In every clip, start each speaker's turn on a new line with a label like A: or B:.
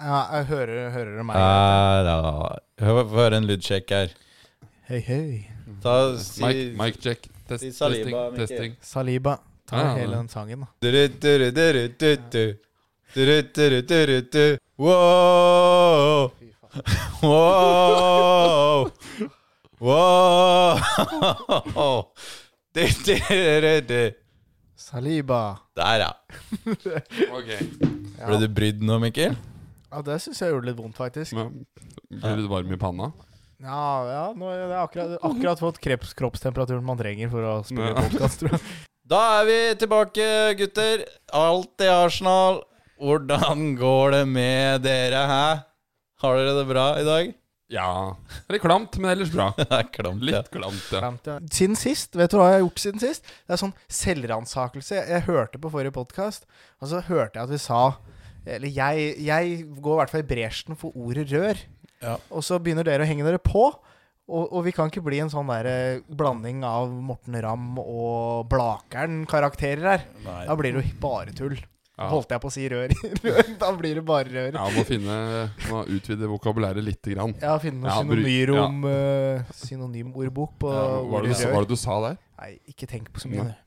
A: Ja, jeg hører, hører du meg?
B: Er, ja. Ah, Hør, hør en lydsjekk her.
A: Hei, hei.
B: Ta, si,
C: Mic, mic check. Test,
B: Si saliva,
C: testing.
B: Mikkel.
C: testing.
A: Saliba. Ta
C: Ja, ja,
A: hele
C: ja.
A: den sangen, da.
B: Duru, duru, duru, du, du. Duru, duru, duru, du. Wow! Wow! Wow! Du, duru, du.
A: Saliba.
B: Der, ja.
C: Ok.
A: Ja,
B: Ble du brydd nå, Mikkel?
A: ja det syns jeg gjorde litt vondt, faktisk.
C: Men, Blir du varm i panna?
A: Ja, ja nå er det akkurat, akkurat fått kreps, kroppstemperaturen man trenger for å spille
C: Ja.
A: podcast, tror jeg.
B: Da er vi tilbake, gutter. Alt i Arsenal. Hvordan går det med dere, hæ? Har dere det bra i dag?
C: Ja. Det er klamt, men ellers bra.
B: Det er klamt, ja.
C: Litt klamt, ja.
A: Glemt det. Siden sist, vet du hva jeg har gjort siden sist? Det er sånn selvransakelse. Jeg, jeg hørte på forrige podkast, og så hørte jeg at vi sa Eller jeg, jeg går i hvert fall i bresjen for ordet rør.
B: Ja.
A: Og så begynner dere å henge dere på. Og, og vi kan ikke bli en sånn der eh, blanding av Morten Ramm og Blakeren-karakterer her.
B: Nei.
A: Da blir det jo bare tull.
C: Ja.
A: Holdt jeg på å si rør. rør. da blir det bare rør.
C: Ja, må finne Må utvide vokabulæret lite grann.
A: Jeg har funnet
C: Ja,
A: noen
C: bruk-
A: synonym, eh, synonymordbok på
C: Ja, Hva var det
A: ordet
C: du- hva
A: rør.
C: var det du sa der?
A: Nei, ikke tenk på så mye. du.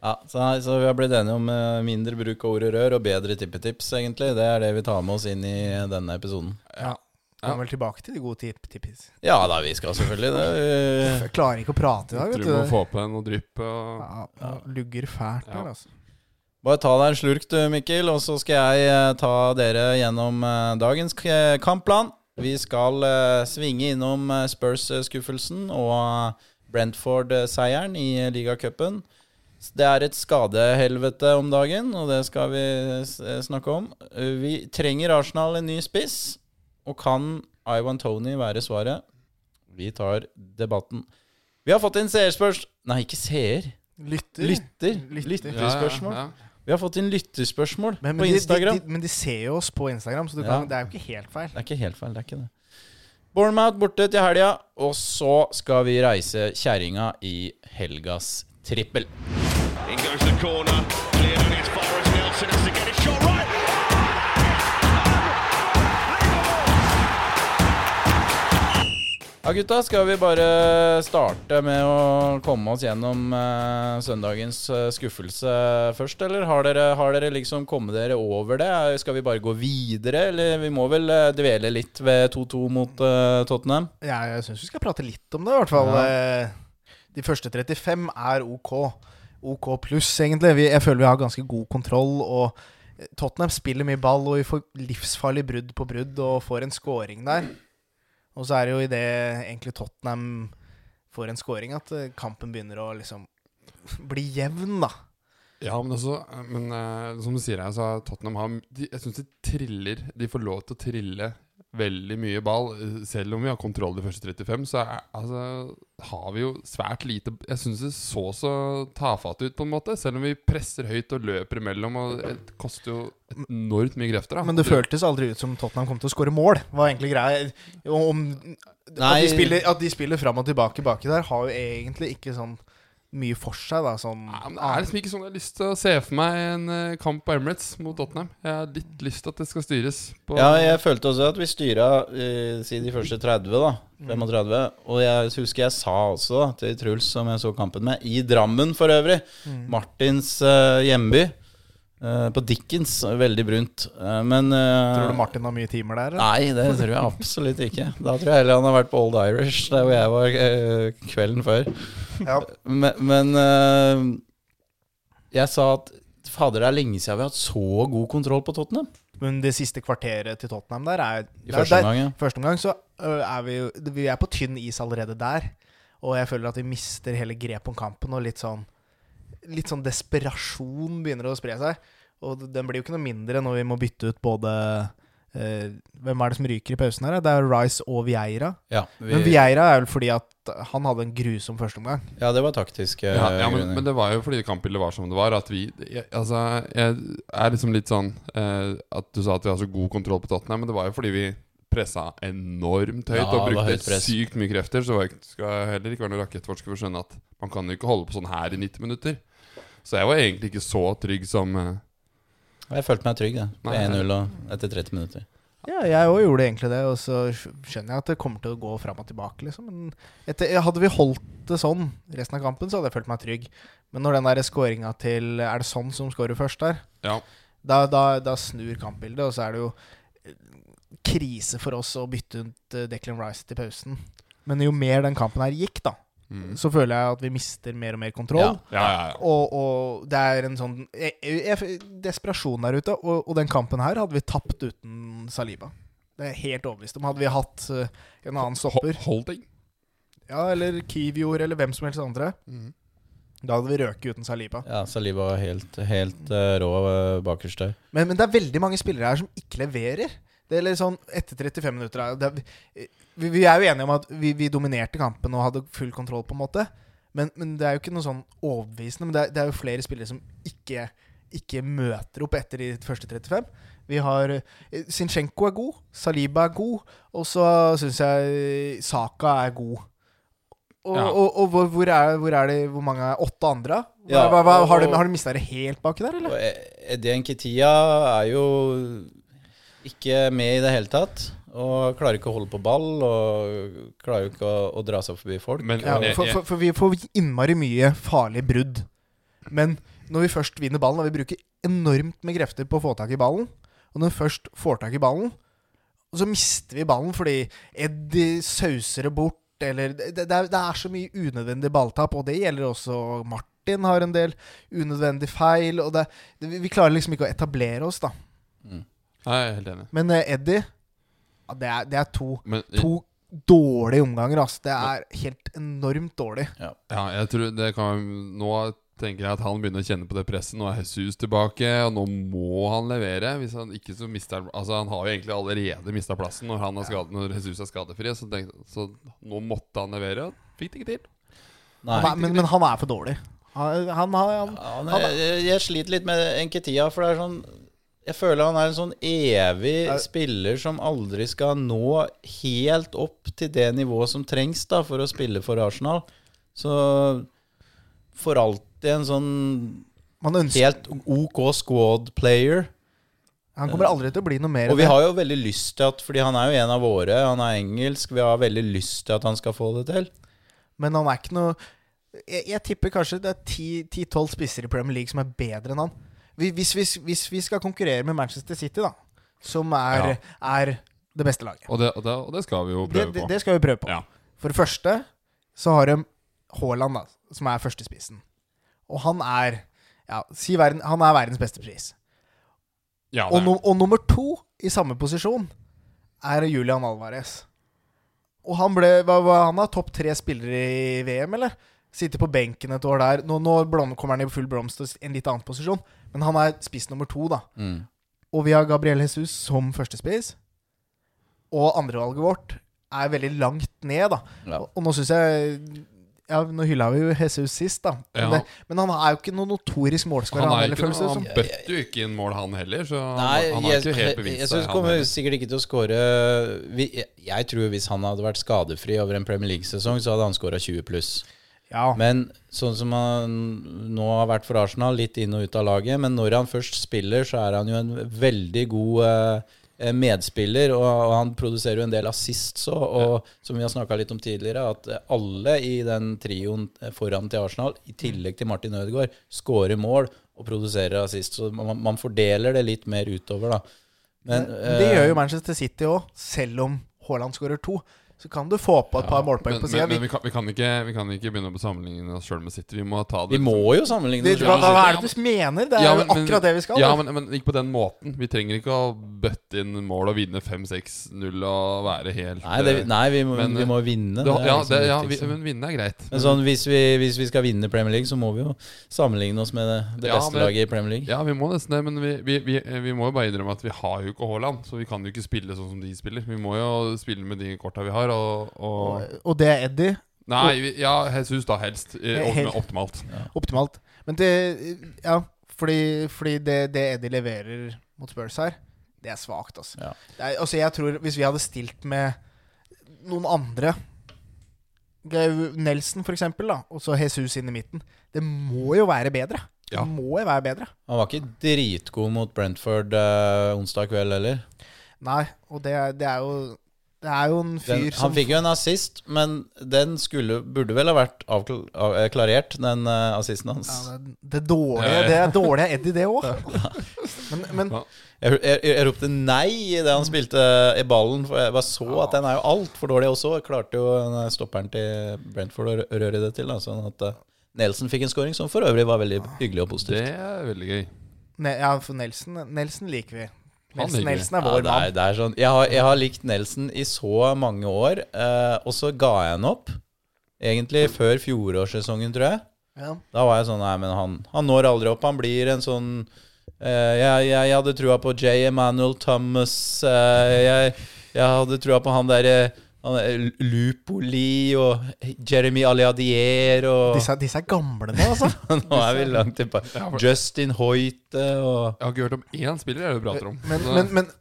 B: Ja, så, nei, så vi har blitt enige om eh, mindre bruk av ordet rør og bedre tippetips, egentlig. Det er det vi tar med oss inn i denne episoden.
A: Ja.
C: Ja.
A: Kommer vel tilbake til de gode tip tippis.
B: Ja da, vi skal selvfølgelig det.
A: Jeg klarer ikke å prate i dag,
C: Tror
A: vet
C: du må
A: du.
C: få på noe drypp. Og...
A: Ja, lugger fælt
C: Ja.
A: her, altså.
B: Bare ta deg en slurk du, Mikkel, og så skal jeg eh, ta dere gjennom eh, dagens k- eh, kampplan. Vi skal eh, svinge innom eh, Spurs-skuffelsen og eh, Brentford-seieren i eh, ligacupen. S- Det er et skadehelvete om dagen, og det skal vi s- eh, snakke om. Eh, Vi trenger Arsenal en ny spiss, og kan Ivan Tony være svaret? Vi tar debatten. Vi har fått inn seerspørsmål Nei, ikke seer.
A: Lytter.
B: Lytter.
A: Lytter.
B: Lytterspørsmål.
C: Ja,
B: Vi har fått inn lytterspørsmål
A: Men, men,
B: på Instagram.
A: De, de, men de ser jo oss på Instagram, så du
B: Ja.
A: kan, det er jo ikke helt feil.
B: Det er ikke helt feil, det er ikke det. Bournemouth borte til helga, og så skal vi reise kjerringa i helgas trippel.
D: In goes the corner, cleared on its far as Nelson has to get his shot right.
B: Ja, gutta, skal vi bare starte med å komme oss gjennom eh, søndagens eh, skuffelse først, eller har dere, har dere liksom kommet dere over det? Eh, Skal vi bare gå videre, eller vi må vel eh, dvele litt ved 2-2 mot eh, Tottenham?
A: Jeg, jeg syns vi skal prate litt om det, i hvert fall.
B: Ja.
A: Eh, De første 35 er OK. OK pluss, egentlig. Vi, jeg føler vi har ganske god kontroll. Og eh, Tottenham spiller mye ball, og vi får livsfarlig brudd på brudd og får en scoring der. Og så er det jo idet egentlig Tottenham får en scoring, at eh, kampen begynner å liksom bli jevn, da.
C: Ja, men altså Men eh, som du sier her, så har Tottenham har de, Jeg syns de triller. De får lov til å trille veldig mye ball. eh, Selv om vi har kontroll de første 35, så er, altså, har vi jo svært lite Jeg syns det så så tafatt ut, på en måte. Selv om vi presser høyt og løper imellom. Og det koster jo enormt mye krefter. Da.
A: Men det føltes aldri ut som Tottenham kom til å skåre mål. Var egentlig greia om, At,
B: Nei.
A: de spiller, at de spiller fram og tilbake baki der, har jo egentlig ikke sånn mye for seg, da. Sånn
C: Nei, men det er liksom ikke sånn jeg har lyst til å se for meg en eh, kamp på Emirates mot Tottenham. Jeg har litt lyst til at det skal styres. På,
B: Ja, jeg følte også at vi styra eh, si de første 30, da.
A: Mm.
B: 35. Og jeg husker jeg sa også da, til Truls, som jeg så kampen med, i Drammen for øvrig,
A: Mm.
B: Martins eh, hjemby, eh, på Dickens, veldig brunt. Eh, men eh,
A: Tror du Martin har mye timer der? eller?
B: Nei, det tror jeg absolutt ikke. Da tror jeg heller han har vært på Old Irish, der hvor jeg var eh, kvelden før.
A: Ja.
B: Men, men eh, jeg sa at fader, det er lenge siden vi har hatt så god kontroll på Tottenham.
A: Men det siste kvarteret til Tottenham der er
B: I første omgang, ja.
A: Første omgang så ø, er vi jo Vi er på tynn is allerede der. Og jeg føler at vi mister hele grepet om kampen, og litt sånn Litt sånn desperasjon begynner å spre seg. Og den blir jo ikke noe mindre når vi må bytte ut både eh, Hvem er det som ryker i pausen her? da? Det er Rice og Vieira.
B: Ja,
A: Men
B: vi,
A: Vieira er vel fordi at han hadde en grusom førsteomgang.
B: ja, det var taktiske
C: Ja, ja
B: grunner.
C: men, men det var jo fordi kampbildet var som det var. At vi jeg, Altså, jeg er liksom litt sånn eh, At du sa at vi har så god kontroll på Tottenham, men det var jo fordi vi pressa enormt høyt
B: Ja,
C: og
B: det var
C: brukte
B: høyt press.
C: sykt mye krefter. Så var jeg- skal jeg heller ikke være noen rakettforsker for å skjønne at man kan jo ikke holde på sånn her i 90 minutter. Så jeg var egentlig ikke så trygg som eh,
B: Jeg følte meg trygg, da. På
C: Nei.
B: 1-0 og etter 30 minutter.
A: Ja, jeg òg gjorde egentlig det, og så skjønner jeg at det kommer til å gå fram og tilbake, liksom. Men etter, hadde vi holdt det sånn resten av kampen, så hadde jeg følt meg trygg. Men når den der scoringa til Er det sånn som scorer først der?
C: Ja.
A: Da, da, da snur kampbildet, og så er det jo eh, krise for oss å bytte ut eh, Declan Rice til pausen. Men jo mer den kampen her gikk, da,
C: Mm.
A: så føler jeg at vi mister mer og mer kontroll.
C: Ja, ja, ja.
A: Og, og det er en sånn jeg, jeg, desperasjon der ute. Og, og den kampen her hadde vi tapt uten Saliba. Det er jeg helt overbevist om. Hadde vi hatt eh, en annen stopper,
C: Ho- Holding.
A: ja, eller Kivior, eller hvem som helst andre,
C: Mm.
A: da hadde vi røket uten Saliba.
B: Ja, Saliba var helt, helt eh, rå eh, bakerst der.
A: Men, men det er veldig mange spillere her som ikke leverer. Det er litt sånn etter 35 minutter er- det er, vi, vi er jo enige om at vi, vi dominerte kampen og hadde full kontroll, på en måte. Men, men det er jo ikke noe sånn overbevisende. Men det er, det er jo flere spillere som ikke, ikke møter opp etter de første 35. Vi har eh, Zinchenko er god, Saliba er god, og så syns jeg eh, Saka er god. Og,
C: Ja.
A: og, og hvor, hvor, er, hvor er det Hvor mange er åtte andre? Hva,
B: Ja,
A: hva, hva, har de,
B: og-
A: har de mista det helt baki der, eller?
B: Og E- Eddie Nketia er jo ikke med i det hele tatt. Og klarer ikke å holde på ball, og klarer jo ikke å, å dra seg forbi folk.
C: Men,
A: Ja,
C: men jeg,
A: for,
C: jeg,
A: for, for vi får innmari mye farlige brudd. Men når vi først vinner ballen, og vi bruker enormt med krefter på å få tak i ballen, og når vi først får tak i ballen, så mister vi ballen fordi Eddie sauser det bort, eller det, det, er, det er så mye unødvendig balltap, og det gjelder også Martin har en del unødvendig feil, og det, det, vi- vi klarer liksom ikke å etablere oss, da.
C: Nei, jeg er helt enig.
A: Men eh, Eddie, ja, det, er, det er to,
C: Men
A: to dårlige omganger, ass. Det er helt enormt dårlig.
C: ja, jeg tror det kan Nå tenker jeg at han begynner å kjenne på det presset. Nå er Jesus tilbake, og nå må han levere. Hvis han ikke så mister han Altså, han har jo egentlig allerede mista plassen når, han er skade, når Jesus er skadefri, så, tenk, så nå måtte han levere. og Fikk det ikke til.
B: Nei.
A: Han er, men, men han er for dårlig. Han, han, har- han,
B: Ja, han er, jeg, jeg sliter litt med Nketia, for det er sånn Jeg føler han er en sånn evig spiller som aldri skal nå helt opp til det nivået som trengs da for å spille for Arsenal. Så får alltid en sånn
A: man ønsker,
B: helt OK squad player.
A: han kommer aldri til å bli noe mer
B: Og
A: enn
B: vi
A: det.
B: har jo veldig lyst til at Fordi han er jo en av våre, han er engelsk, vi har veldig lyst til at han skal få det til.
A: Men han er ikke noe Jeg, jeg tipper kanskje det er 10-12 spisser i Premier League som er bedre enn han. Vi- Hvis, hvis, hvis vi skal konkurrere med Manchester City, da, som er, er det beste laget
C: Og det, og, det, og det skal vi jo
A: det,
C: prøve
A: det,
C: på.
A: det skal vi prøve på.
C: Ja.
A: For det første så har de Haaland, da, som er førstespissen. Og han er ja, si verden, Han er verdens beste pris.
C: Ja, det
A: Og,
C: er-
A: nu- og nummer to i samme posisjon er Julian Alvarez. Og han ble hva, hva, Han er topp tre spillere i VM, eller? Sitter på benken et år der. Nå, nå blom, kommer han i full blomst og s- en litt annen posisjon, men han er spiss nummer to, da.
C: Mm.
A: Og vi har Gabriel Jesus som førstespiss. Og andrevalget vårt er veldig langt ned, da.
B: Ja.
A: Og, og nå syns jeg ja, Nå hylla vi jo Jesus sist, da. Men,
C: Ja.
A: det, men han er jo ikke noen notorisk målskårer.
C: han,
A: Han,
C: er
A: heller,
C: ikke,
A: føles det
C: noe-
A: som.
C: han bøtte jo ikke inn mål, han heller, så han,
B: Nei,
C: han har
B: jeg,
C: ikke helt bevist
B: Jesus
C: han
B: kommer
C: heller.
B: sikkert ikke til å skåre Vi- jeg, jeg tror hvis han hadde vært skadefri over en Premier League-sesong, så hadde han skåra 20 pluss.
A: Ja.
B: Men sånn som han nå har vært for Arsenal, litt inn og ut av laget, men når han først spiller, så er han jo en veldig god eh, medspiller, og, og han produserer jo en del assists òg, og som vi har snakka litt om tidligere, at eh, alle i den trioen eh, foran til Arsenal, i tillegg til Martin Ødegaard, skårer mål og produserer assist, så man, man fordeler det litt mer utover, da. Men, eh,
A: Men det gjør jo Manchester City òg, selv om Haaland skårer to. Så kan du få på et par målpoeng
C: Men,
A: på
C: men,
A: sida.
C: men vi, kan, vi, kan ikke, vi kan ikke begynne å sammenligne oss sjøl med City. Vi må ta
B: vi
C: det
B: må jo sammenligne. oss
A: Hva,
B: med
A: hva
B: City.
A: er det du mener? Det er
C: Ja,
A: jo
C: men- men-
A: akkurat det vi skal.
C: Ja,
A: da.
C: men, men ikke på den måten. Vi trenger ikke å bøtte inn mål og vinne 5-6-0 og være helt
B: Nei, det,
C: eh,
B: nei vi, må,
C: Men,
B: vi må vinne.
C: det,
B: er
C: ja,
B: liksom
C: det, ja vi,
B: viktigste.
C: men vinne er greit.
B: Men sånn, hvis vi, hvis vi skal vinne Premier League, så må vi jo sammenligne oss med det, det
C: Ja,
B: beste
C: men-
B: laget i Premier League.
C: Ja, vi må nesten det, men vi, vi, vi, eh, vi må jo bare innrømme at vi har jo ikke Haaland. Så vi kan jo ikke spille sånn som de spiller. Vi må jo spille med de korta vi har, og, og
A: Og, og det er Eddie.
C: Nei, vi, ja, Jesus da helst. eh,
A: Eh, helt-
C: Optimalt.
A: Optimalt. Men det Ja, fordi, fordi det, det Eddie leverer mot Spurs her, det er svakt, altså.
B: Ja.
A: Det er, altså. Jeg tror hvis vi hadde stilt med noen andre det- Nelson, for eksempel, da, og så Jesus inn i midten. Det må jo være bedre.
C: Ja.
A: Det må jo være bedre.
B: Han var ikke dritgod mot Brentford eh, onsdag kveld heller.
A: Nei, og det, er- det er jo Det er jo en fyr
B: Den,
A: som
B: han fikk jo en assist, men den skulle, burde vel ha vært avkl- av- eh, klarert, den eh, assisten hans.
A: ja, det, det dårlige Det er dårlig av Eddie, det òg. Men, men
B: Jeg, jeg, jeg ropte nei idet han spilte i ballen, for jeg bare så at den er jo altfor dårlig også. Jeg klarte jo den der stopperen til Brentford å rø- røre det til, da, sånn at eh, Nelson fikk en scoring som for øvrig var veldig hyggelig og
C: Det
B: positiv.
C: er veldig gøy.
A: ne, ja, for Nelson, Nelson liker vi. Nelson,
C: liker vi.
A: Nelson er
B: Ja,
A: vår
B: det er,
A: mann.
B: det er sånn. jeg, har, jeg har likt Nelson i så mange år, eh, og så ga jeg han opp. Egentlig før fjorårssesongen, tror jeg.
A: Ja.
B: Da var jeg sånn Nei, men han, han når aldri opp. Han blir en sånn eh, jeg, jeg, jeg hadde trua på J. Emanuel Thomas. eh, jeg, jeg hadde trua på han derre Lupoli og Jeremy Aliadier og
A: Disse, er- disse er gamle nå, altså.
B: Nå er vi langt tilbake. Justin Hoite og
C: Jeg har ikke hørt om én spiller jeg prater om.
A: Men,
C: Så-
A: men, men, men,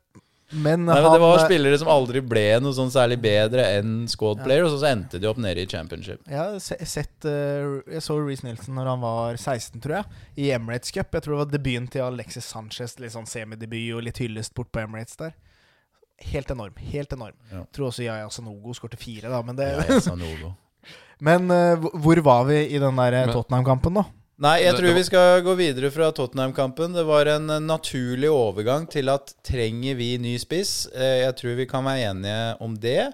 B: Nei, men
A: han eh,
B: Det var spillere som aldri ble noe sånn særlig bedre enn squad player, og så, så endte de opp nede i championship.
A: Jeg har se- sett eh, Jeg så Reece Nelson når han var 16, tror jeg. I Emirates Cup. Jeg tror det var debuten til Alexis Sanchez. Litt sånn semidebut og litt hyllest bort på Emirates der. Helt enorm. Helt enorm.
B: Ja.
A: Jeg tror også Yaya Sanogo skårte fire, da. Men, det,
B: Ja, jeg sa noe.
A: men eh, hvor- hvor var vi i den der eh,
C: Men-
A: Tottenham-kampen, da?
B: Nei, jeg
C: Det-
B: tror
C: det var-
B: vi skal gå videre fra Tottenham-kampen. Det var en eh, naturlig overgang til at trenger vi ny spiss? Eh, Jeg tror vi kan være enige om det.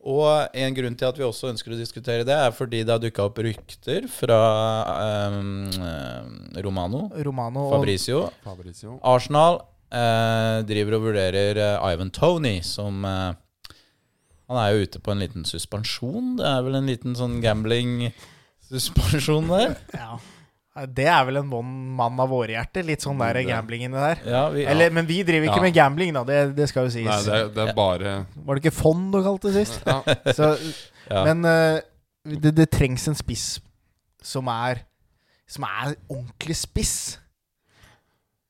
B: Og en grunn til at vi også ønsker å diskutere det, er fordi det har dukka opp rykter fra eh, eh, Romano,
A: Romano og
B: Fabricio.
C: Fabrizio.
B: Arsenal eh, driver og vurderer eh, Ivan Tony som eh, Han er jo ute på en liten suspensjon. Det er vel en liten sånn gambling-suspensjon der?
A: ja. Nei, Det er vel en bon mann av våre hjerter. Litt sånn
C: Mm,
A: der gamblingen der.
B: Ja, vi,
A: Eller, men vi driver ikke
C: Ja.
A: med gambling, da. Det, det skal jo sies.
C: Nei, det er, det er bare
A: Var det ikke fond du kalte det sist?
C: ja,
A: Så,
B: Ja.
A: Men eh, det, det trengs en spiss som er Som er ordentlig spiss.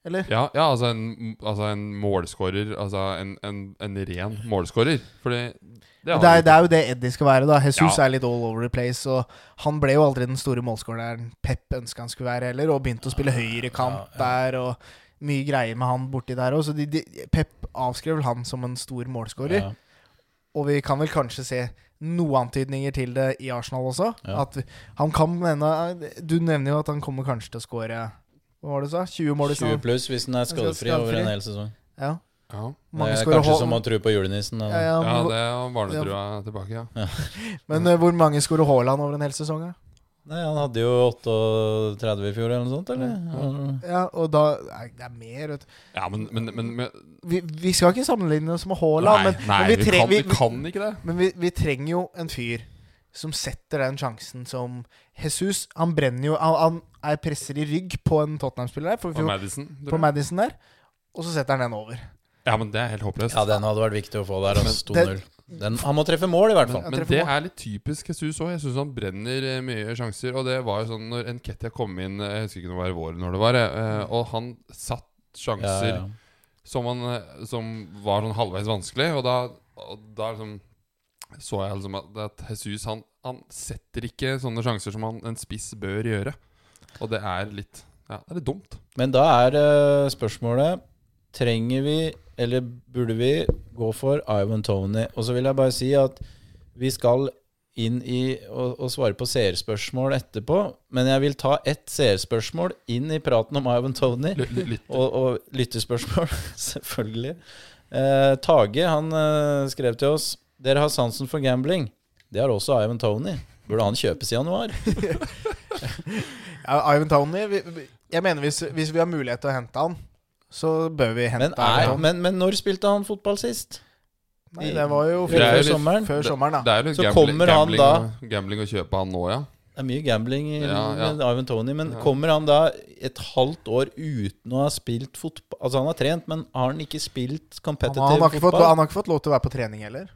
A: Eller?
C: ja, ja, altså en, altså en målskårer. Altså en, en, en ren målskårer. Fordi det
A: Det er,
C: han
A: det er jo det Eddie skal være. da Jesus
C: Ja.
A: er litt all over the place. Og han ble jo aldri den store målskåreren Pep ønska han skulle være heller, og begynte å spille høyrekant der. og mye greier med han borti der òg. De, de, Pep avskrev vel han som en stor målskårer.
B: Ja.
A: Og vi kan vel kanskje se noen antydninger til det i Arsenal også.
B: Ja.
A: At han kan nevne Du nevner jo at han kommer kanskje til å skåre Hva var det du sa? 20 mål i
B: 20
A: sesongen?
B: pluss hvis den er skadefri
A: Skadefri.
B: over en hel sesong.
A: Ja.
C: Ja,
A: Mange
B: det er
A: skårer
B: kanskje
A: Haaland.
B: som å tro på julenissen.
A: Ja,
B: Eller?
A: ja,
C: ja
A: hvor-
C: det er barnetrua tilbake, ja.
A: Men eh, hvor mange skårer Haaland over en hel sesong? da?
B: Nei, han hadde jo 38 i fjor eller noe sånt, eller?
A: Ja, og da Nei, det er mer, vet du.
C: Ja, men, men, men, men
A: Vi, vi skal ikke sammenligne oss med Haaland,
C: Nei,
A: men,
C: nei
A: men, vi,
C: vi,
A: tre
C: kan,
A: vi,
C: vi kan ikke det.
A: men vi, vi trenger jo en fyr som setter den sjansen som Jesus Han brenner jo Han, han er presser i rygg på en Tottenham-spiller der, for,
C: På
A: for,
C: Madison. tror
A: på
C: jeg.
A: Madison der, og så setter han den over.
C: Ja, men det er helt håpløst.
B: Ja, den hadde vært viktig å få der. Altså,
A: Men
B: 2-0. Den- Han må treffe mål, i hvert
A: jeg
B: fall.
C: Men, men
A: treffer
C: det
A: mål.
C: er litt typisk Jesus òg. Jeg syns han brenner eh, mye sjanser. Og det var jo sånn når Nketia kom inn eh, Jeg husker ikke om det var i vår når det var, eh, og han satt
B: Ja,
C: sjanser
B: ja.
C: Som, han, eh, som var sånn halvveis vanskelig. Og da, og da liksom så jeg liksom at, at Jesus han, han setter ikke sånne sjanser som han, en spiss bør gjøre. Og det er litt Ja, det er litt dumt.
B: Men da er eh, spørsmålet Trenger vi, eller burde vi gå for Ivan Tony? Og så vil jeg bare si at vi skal inn i og, og svare på seerspørsmål etterpå, men jeg vil ta ett seerspørsmål inn i praten om Ivan Tony.
C: Litt, litt,
B: Og, og lyttespørsmål, selvfølgelig. Eh, Tage han eh, skrev til oss Dere har sansen for gambling. Det har også Ivan Tony. Burde han kjøpes i januar?
A: Ja, Ivan Tony vi, vi- Jeg mener hvis, hvis vi har mulighet til å hente han, så bør vi hente
B: Men, er,
A: Ivan Tony.
B: men, men når spilte han fotball sist?
A: Nei, det var jo
B: Før,
A: før,
C: Det er jo
B: før
C: litt-
B: sommeren?
A: før sommeren, da.
C: det er jo litt
B: Så
C: gambling,
B: kommer han
C: gambling,
B: da-
C: å- gambling å kjøpe han nå, ja.
B: Det er mye gambling i
C: Ja, ja.
B: med Ivan Tony, men
C: Ja.
B: kommer han da et halvt år uten å ha spilt fotball? Altså, han har trent, men har han ikke spilt
A: Han,
B: competitive
A: han, har ikke fått,
B: fotball?
A: han har ikke fått lov til å være på trening heller.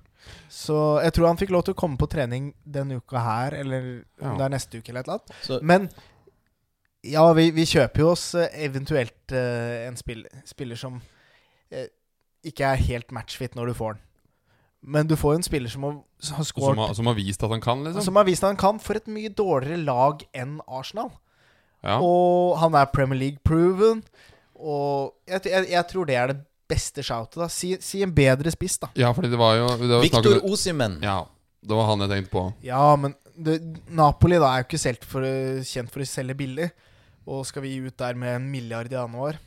A: Så jeg tror han fikk lov til å komme på trening denne uka her, eller om
C: Ja.
A: det er neste uke eller et eller annet.
B: Så,
C: Mm.
A: Men ja, vi, vi kjøper jo oss eh, eventuelt eh, en spill, spiller som eh, ikke er helt matchfit når du får den. Men du får jo en spiller som har, har
C: Som,
A: scoret
C: har- som har vist at han kan,
B: Altså,
C: liksom.
A: Som har vist at han kan for et mye dårligere lag enn Arsenal.
C: Ja.
A: Og han er Premier League-proven. Og jeg, jeg, jeg tror det er det beste shoutet, da? Si, si en bedre spiss, da.
C: Ja, fordi det var jo det var
B: Victor
C: snakket-
B: Osimen.
C: Ja, det var han jeg tenkte på.
A: Ja, men det, Napoli da er jo ikke selt for, kjent for å selge billig. Og skal vi ut der med en milliard i januar?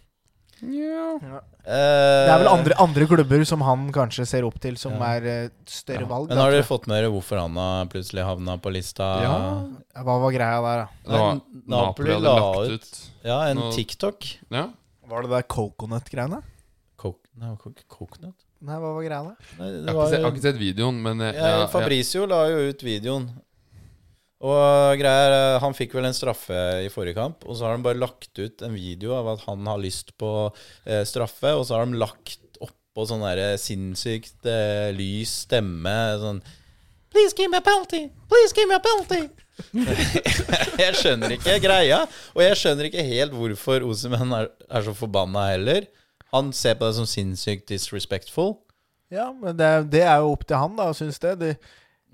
B: eh,
A: Det er vel andre, andre klubber som han kanskje ser opp til, som
B: Ja.
A: er eh, større valg.
B: Men
A: da,
B: har dere
A: tror
B: fått med dere hvorfor han har plutselig havna på lista?
C: Ja.
A: jeg. Hva var greia der, da?
C: Det var,
B: Nei,
C: Napoli hadde lagt ut
B: Ja, en
C: Nå-
B: TikTok.
C: Ja,
A: Var det der coconut-greiene?
B: Kok nei, kok coconut?
A: Nei, hva var greia der?
B: Nei, det
C: jeg har, ikke
B: var,
C: sett, jeg har ikke sett videoen, men jeg,
B: ja,
C: jeg, jeg,
B: Fabrizio la jo ut videoen. Og greier, eh, Han fikk vel en straffe i forrige kamp, og så har de bare lagt ut en video av at han har lyst på eh, straffe, og så har de lagt oppå sånn derre sinnssykt eh, lys stemme sånn Please give me a penalty! Please give me a penalty! jeg skjønner ikke greia, og jeg skjønner ikke helt hvorfor Osemen er, er så forbanna heller. Han ser på det som sinnssykt disrespectful.
A: Ja, men det, det er jo opp til han, da, syns det. De,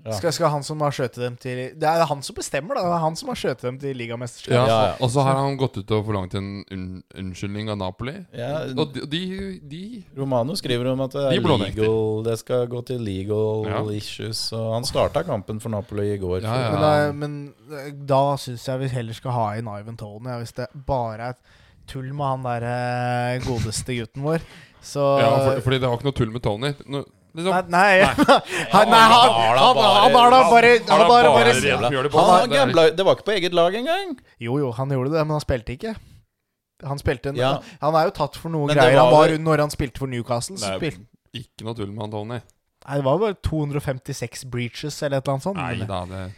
B: Ja.
A: skal, skal han som har skjøtet dem til Det er han som bestemmer, da. Det er han som har skjøtet dem til
C: ja,
A: ligamesterskapet.
B: Ja, ja.
C: Og så har han gått ut og forlangt en unn, unnskyldning av Napoli.
B: Ja,
C: Og de, de, de
B: Romano skriver om at det,
C: De
B: er
C: blånekter.
B: legal, det skal gå til legal
C: Ja.
B: issues. Og han starta kampen for Napoli i går.
C: Ja, ja.
A: Men, da, men eh, da syns jeg vi heller skal ha inn Ivan Tone. ja, Hvis det bare er et tull med han der eh, godeste gutten vår, så
C: ja,
B: Eh,
C: for, Fordi det var ikke noe tull med Tony. No,
A: Nei,
C: liksom,
A: nei, han, nei han,
B: har da
A: han,
B: bare-
A: han har da bare Han har bare,
C: bare-
A: bare
B: Jævla.
C: Fjøle på.
B: Han har
C: Det er-
B: gambla Det var ikke på eget lag engang!
A: Jo, jo, han gjorde det, men han spilte ikke. Han spilte en,
B: Ja.
A: Han er jo tatt for noe
B: Men det
A: greier. Han
B: var
A: var,
B: vel-
A: når han spilte for Newcastle. så
C: Nei.
A: Spil,
C: ikke noe tull med han Tony.
A: nei, det var jo bare 256 breaches eller et eller annet sånt.
C: Nei
A: men-
C: da, det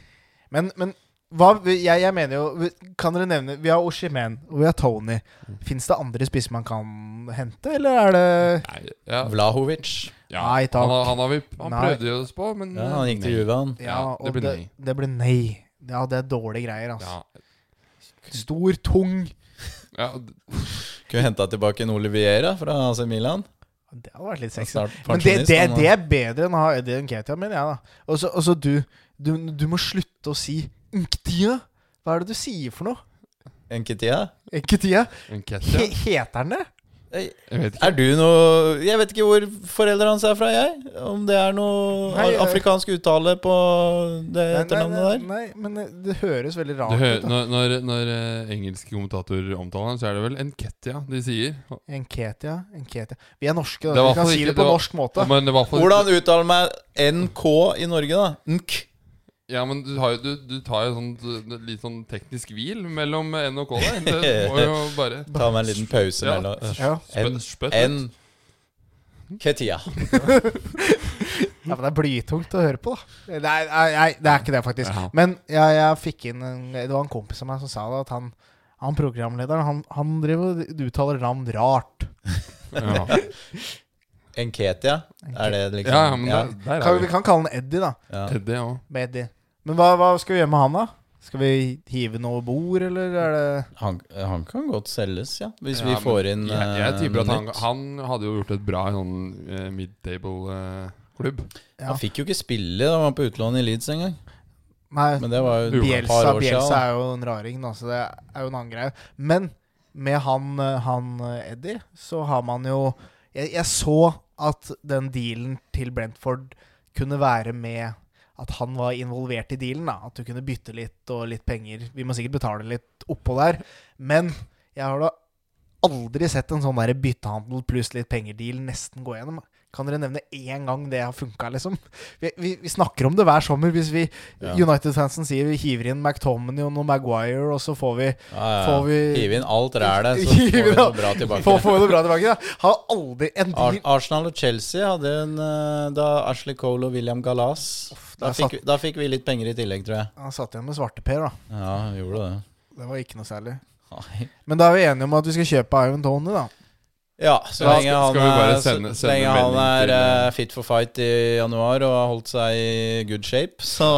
A: Men, men hva, jeg, jeg mener jo Kan dere nevne Vi har Oshimen, og vi har Tony.
C: Mm.
A: Fins det andre spisser man kan hente, eller er det
C: Nei, ja,
B: Vlahovic.
C: ja.
A: Nei, takk.
C: Han, har- han, har vi, han
A: Nei.
C: prøvde jo oss på, men
B: Ja, han gikk til Juve, han.
C: Ja, det blir nei.
A: Det, blir nei. Ja, det er dårlige greier, altså.
C: Ja,
A: Stor, tung
C: ja,
B: Kunne henta tilbake en Oliviera fra AC Milan.
A: Det hadde vært litt
B: Han er
A: sexy.
B: snart
A: Men det,
B: pensjonist,
A: det,
B: han, da.
A: det er bedre enn å ha Eddie Nketia, mener jeg, da. Og så- Og så du, du Du må slutte å si Nktia. Hva er det du sier for noe?
B: Enketia?
A: Nketia?
C: en
A: He,
C: ketchup.
A: heter han det?
B: Ei,
C: Jeg vet ikke.
B: Er du noe Jeg vet ikke hvor foreldrene hans er fra, jeg. Om det er noe
A: Nei, jeg-
B: a- afrikansk uttale på det
A: Nei, nei,
B: etternavnet der.
A: Nei, men eh, det høres veldig
C: Du
A: rart
C: hø-
A: ut. da.
C: når, når, når eh, engelske kommentatorer omtaler han, så er det vel en ketja de sier.
A: Enketia, Enketia Vi er norske,
C: Det
A: da. Vi
C: var
A: kan
C: for
A: si
C: ikke-
A: det på
C: det var-
A: norsk måte.
C: Men det var for,
B: Hvordan uttaler man NK i Norge, da? NK.
C: Ja, men du, har jo, du, du tar jo sånn, du- litt sånn teknisk hvil mellom N og K der. Det må jo bare
B: Ta meg en liten pause
C: Ja.
B: mellom
A: Ja.
C: spø-
B: En-
C: spøtt ut.
B: enn
A: ja,
B: Ketia.
A: men det er blytungt å høre på, da. Nei, nei, nei det er ikke det, faktisk.
C: Ja.
A: Men jeg, jeg fikk inn en, Det var en kompis av meg som sa det, at han han programlederen han, han driver og uttaler navn rart.
C: Ja,
B: En Ketia? Er det liksom
C: ja men der, der
A: Kan,
C: er
A: vi
C: vi.
A: kan kalle han Eddie, da.
B: ja.
C: Teddy òg.
A: Med Eddie. Men hva, hva skal vi gjøre med han, da? Skal vi hive noe over bord, eller er det
B: Han, han kan godt selges, ja. Hvis
C: Ja,
B: vi
C: men
B: får inn
C: Jeg, jeg
B: eh,
C: tipper at
B: noe
C: han,
B: nytt.
C: han hadde jo gjort et bra sånn eh, midtable-klubb.
A: Ja.
B: Han fikk jo ikke spille da han var på utlån i Leeds engang.
A: Nei,
B: Men det var jo et par
A: Bielsa,
B: år siden.
A: Bielsa
B: da.
A: er jo en raring, da, så det er jo en annen greie. Men med han, eh, han eh, Eddie, så har man jo jeg, jeg så at den dealen til Brentford kunne være med at han var involvert i dealen. da At du kunne bytte litt og litt penger. Vi må sikkert betale litt oppå der. Men jeg har da aldri sett en sånn der byttehandel pluss litt penger-deal nesten gå gjennom. Kan dere nevne én gang det har funka, liksom? Vi, vi, vi snakker om det hver sommer. Hvis vi
B: Ja.
A: United-fansen sier vi hiver inn McTominay og noe Maguire, og så får vi
B: Ja, ja.
A: Får vi-
B: Hive inn alt rælet, så
A: Hive
B: får vi
A: inn
B: noe
A: alt.
B: bra tilbake.
A: får, får vi det bra tilbake. Da. Har aldri en
B: Ar
A: deal
B: Arsenal og Chelsea hadde en eh, da Ashley Cole og William Galas. Da
A: der satt-
B: fikk, vi- da fikk vi litt penger i tillegg, tror jeg.
A: Han satt igjen med svarteper, da.
B: Ja, vi gjorde det.
A: Det var ikke noe særlig.
B: Nei.
A: Men da er vi enige om at vi skal kjøpe Iron Tony, da.
B: Ja, så
C: Ja,
B: lenge
C: skal-
B: han
C: skal vi bare
B: er,
C: sende-
B: så, så
C: sende
B: lenge han
C: melding
B: er
C: til-
B: eh, fit for fight i januar og har holdt seg i good shape, så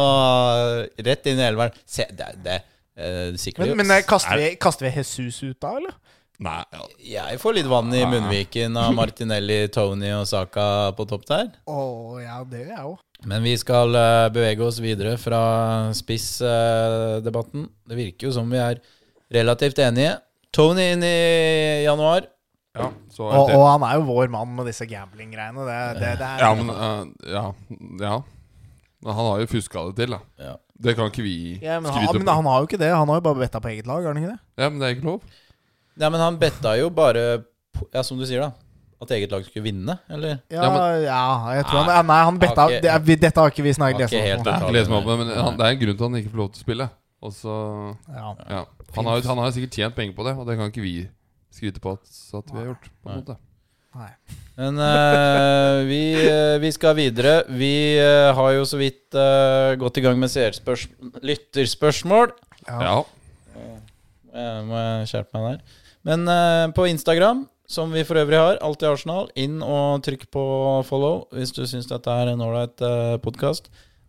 B: eh, rett inn i elveren. Se, det, det eh, sikkert
A: Men, men eh, kaster, vi, kaster vi Jesus ut da, eller?
C: Nei, ja.
B: Jeg får litt vann i
C: Ah.
B: munnviken av Martinelli, Tony og Saka på topp der.
A: Å ja, det gjør jeg òg.
B: Men vi skal eh, bevege oss videre fra spissdebatten. det virker jo som vi er relativt enige. Tony inn i januar.
C: Ja, så er
A: Og,
C: det-
A: og han er jo vår mann med disse gambling-greiene. Det, det, det er
C: ja, men eh, ja, ja. Men han har jo fuska det til, da.
B: Ja.
C: Det kan ikke vi
A: Ja, men,
C: skryte
A: han, men
C: på.
A: han har jo ikke det. Han har jo bare betta på eget lag, har han ikke det?
C: Ja, men det er ikke lov.
B: Nei, men han betta jo bare på- Ja, som du sier, da. At eget lag skulle vinne, eller?
A: Ja,
C: Ja,
A: ja jeg tror han ja, Nei, han betta
B: Har ikke-
A: det, sånn. er- vi, Dette har ikke vi
B: Har
A: snakket
B: ikke
A: lest
C: Det
A: om.
B: helt-
C: er ikke lese meg opp, men han, det er en grunn til at han ikke får lov til å spille. Og så,
A: Ja.
C: ja. han, har, han har sikkert tjent penger på det, og det kan ikke vi skryte på at, at vi har gjort. På en
B: Nei.
C: måte.
A: Nei.
B: Men eh, vi, eh, vi skal videre. Vi eh, har jo så vidt eh, gått i gang med seerspørs lytterspørsmål.
A: Ja.
C: Ja.
B: Jeg må skjerpe meg der. Men eh, på Instagram, som vi for øvrig har, alltid Arsenal, inn og trykk på follow hvis du syns dette er en ålreit uh, podkast.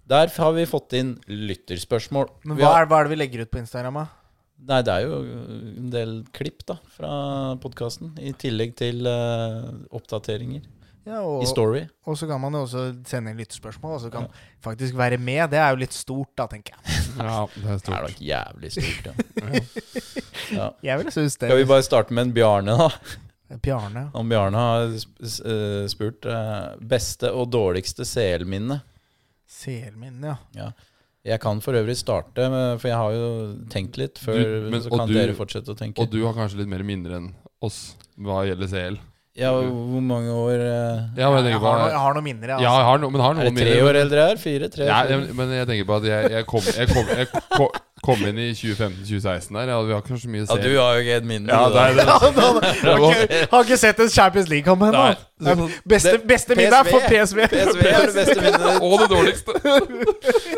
B: Der har vi fått inn lytterspørsmål.
A: Men
B: Vi
A: hva
B: har-
A: er, hva er det vi legger ut på Instagram, da?
B: Nei, det er jo en del klipp da fra podkasten, i tillegg til eh, oppdateringer
A: Ja, og,
B: i Story.
A: og så kan man jo også sende inn lyttespørsmål, og så kan faktisk være med. Det er jo litt stort, da, tenker jeg.
C: ja, det er
B: Det er
C: stort.
B: nok jævlig stort, ja. ja.
A: Jeg ville synes det.
B: Skal vi bare starte med en Bjarne, da?
A: Bjarne.
B: Han Bjarne har sp- s- eh, spurt eh, beste og dårligste CL-minne.
A: Selmin, ja.
B: Jeg kan for øvrig starte, med- for jeg har jo tenkt litt før.
C: Du- men-
B: så
C: og
B: kan
C: du-
B: dere fortsette å tenke.
C: Og du har kanskje litt mer minner enn oss hva gjelder CL.
B: ja, hvor mange år eh,
C: Ja, men
A: Jeg
C: jeg tenker på
A: har, no, jeg har noen minner, jeg.
C: Ja,
A: Altså.
C: jeg har noe, men har
B: Er
C: noen
B: det tre
C: minner.
B: år eldre her? Fire? Tre?
C: Ja,
B: fire?
C: jeg, men jeg tenker på at jeg, jeg, kom, jeg, kom, jeg ko- kom inn i 2015-2016 der, og vi har ikke så mye
B: ja,
C: CL.
B: du har jo ikke et minne.
C: Ja,
B: du, da.
C: det er
A: har, ikke,
C: det.
A: altså. har ikke sett en Champions League-kamp ennå.
B: Nei.
A: Det er Beste,
B: Det-
A: beste middag for PSV.
B: PSV er det beste minnet ditt.
C: Og det dårligste.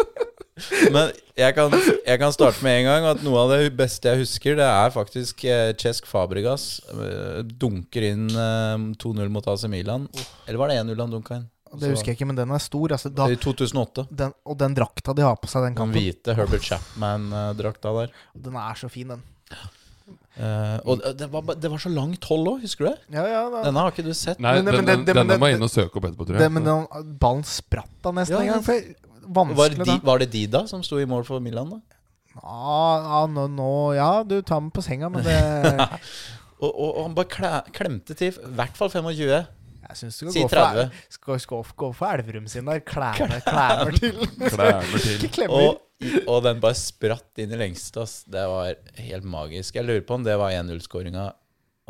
B: Men jeg kan, jeg kan starte med en gang at noe av det beste jeg husker, det er faktisk eh, Cesc Fabregas eh, dunker inn eh, 2-0 mot AC Milan. Eller var det 1-0 han dunka inn?
A: Det husker jeg ikke, men den er stor. Altså, da,
B: I 2008.
A: den, og den drakta de har på seg den
B: Den
A: kampen,
B: hvite Herbert Chapman-drakta der.
A: den er så fin, den.
B: Eh, og det var, ba- det var så langt hold òg, husker du det?
A: Ja, ja, da-
B: Denne har ikke du sett.
C: Nei,
A: Men- men
C: den,
A: det-
C: den,
A: det- men
C: denne må jeg
A: det-
C: inn og søke opp etterpå, tror
A: det,
C: jeg.
A: men den, ballen spratt da nesten
B: Ja,
A: en gang.
B: ja.
A: For
B: Var,
A: vanskelig, da.
B: det Di- var det Dida som sto i mål for Milan, da?
A: Ja, ja, nå, nå Ja, du tar meg på senga, men det Jeg
B: Og, og, og han bare klæ- klemte til, i hvert fall 25.
A: syns du skal
B: Si
A: gå for,
B: 30.
A: skal, skal gå for Elverum sin der. Klæmer, klæmer til.
C: Klemmer til.
A: Ikke klemmer.
B: Og, og den bare spratt inn i lengste. Ass. Det var helt magisk. Jeg lurer på om det var 1-0-skåringa,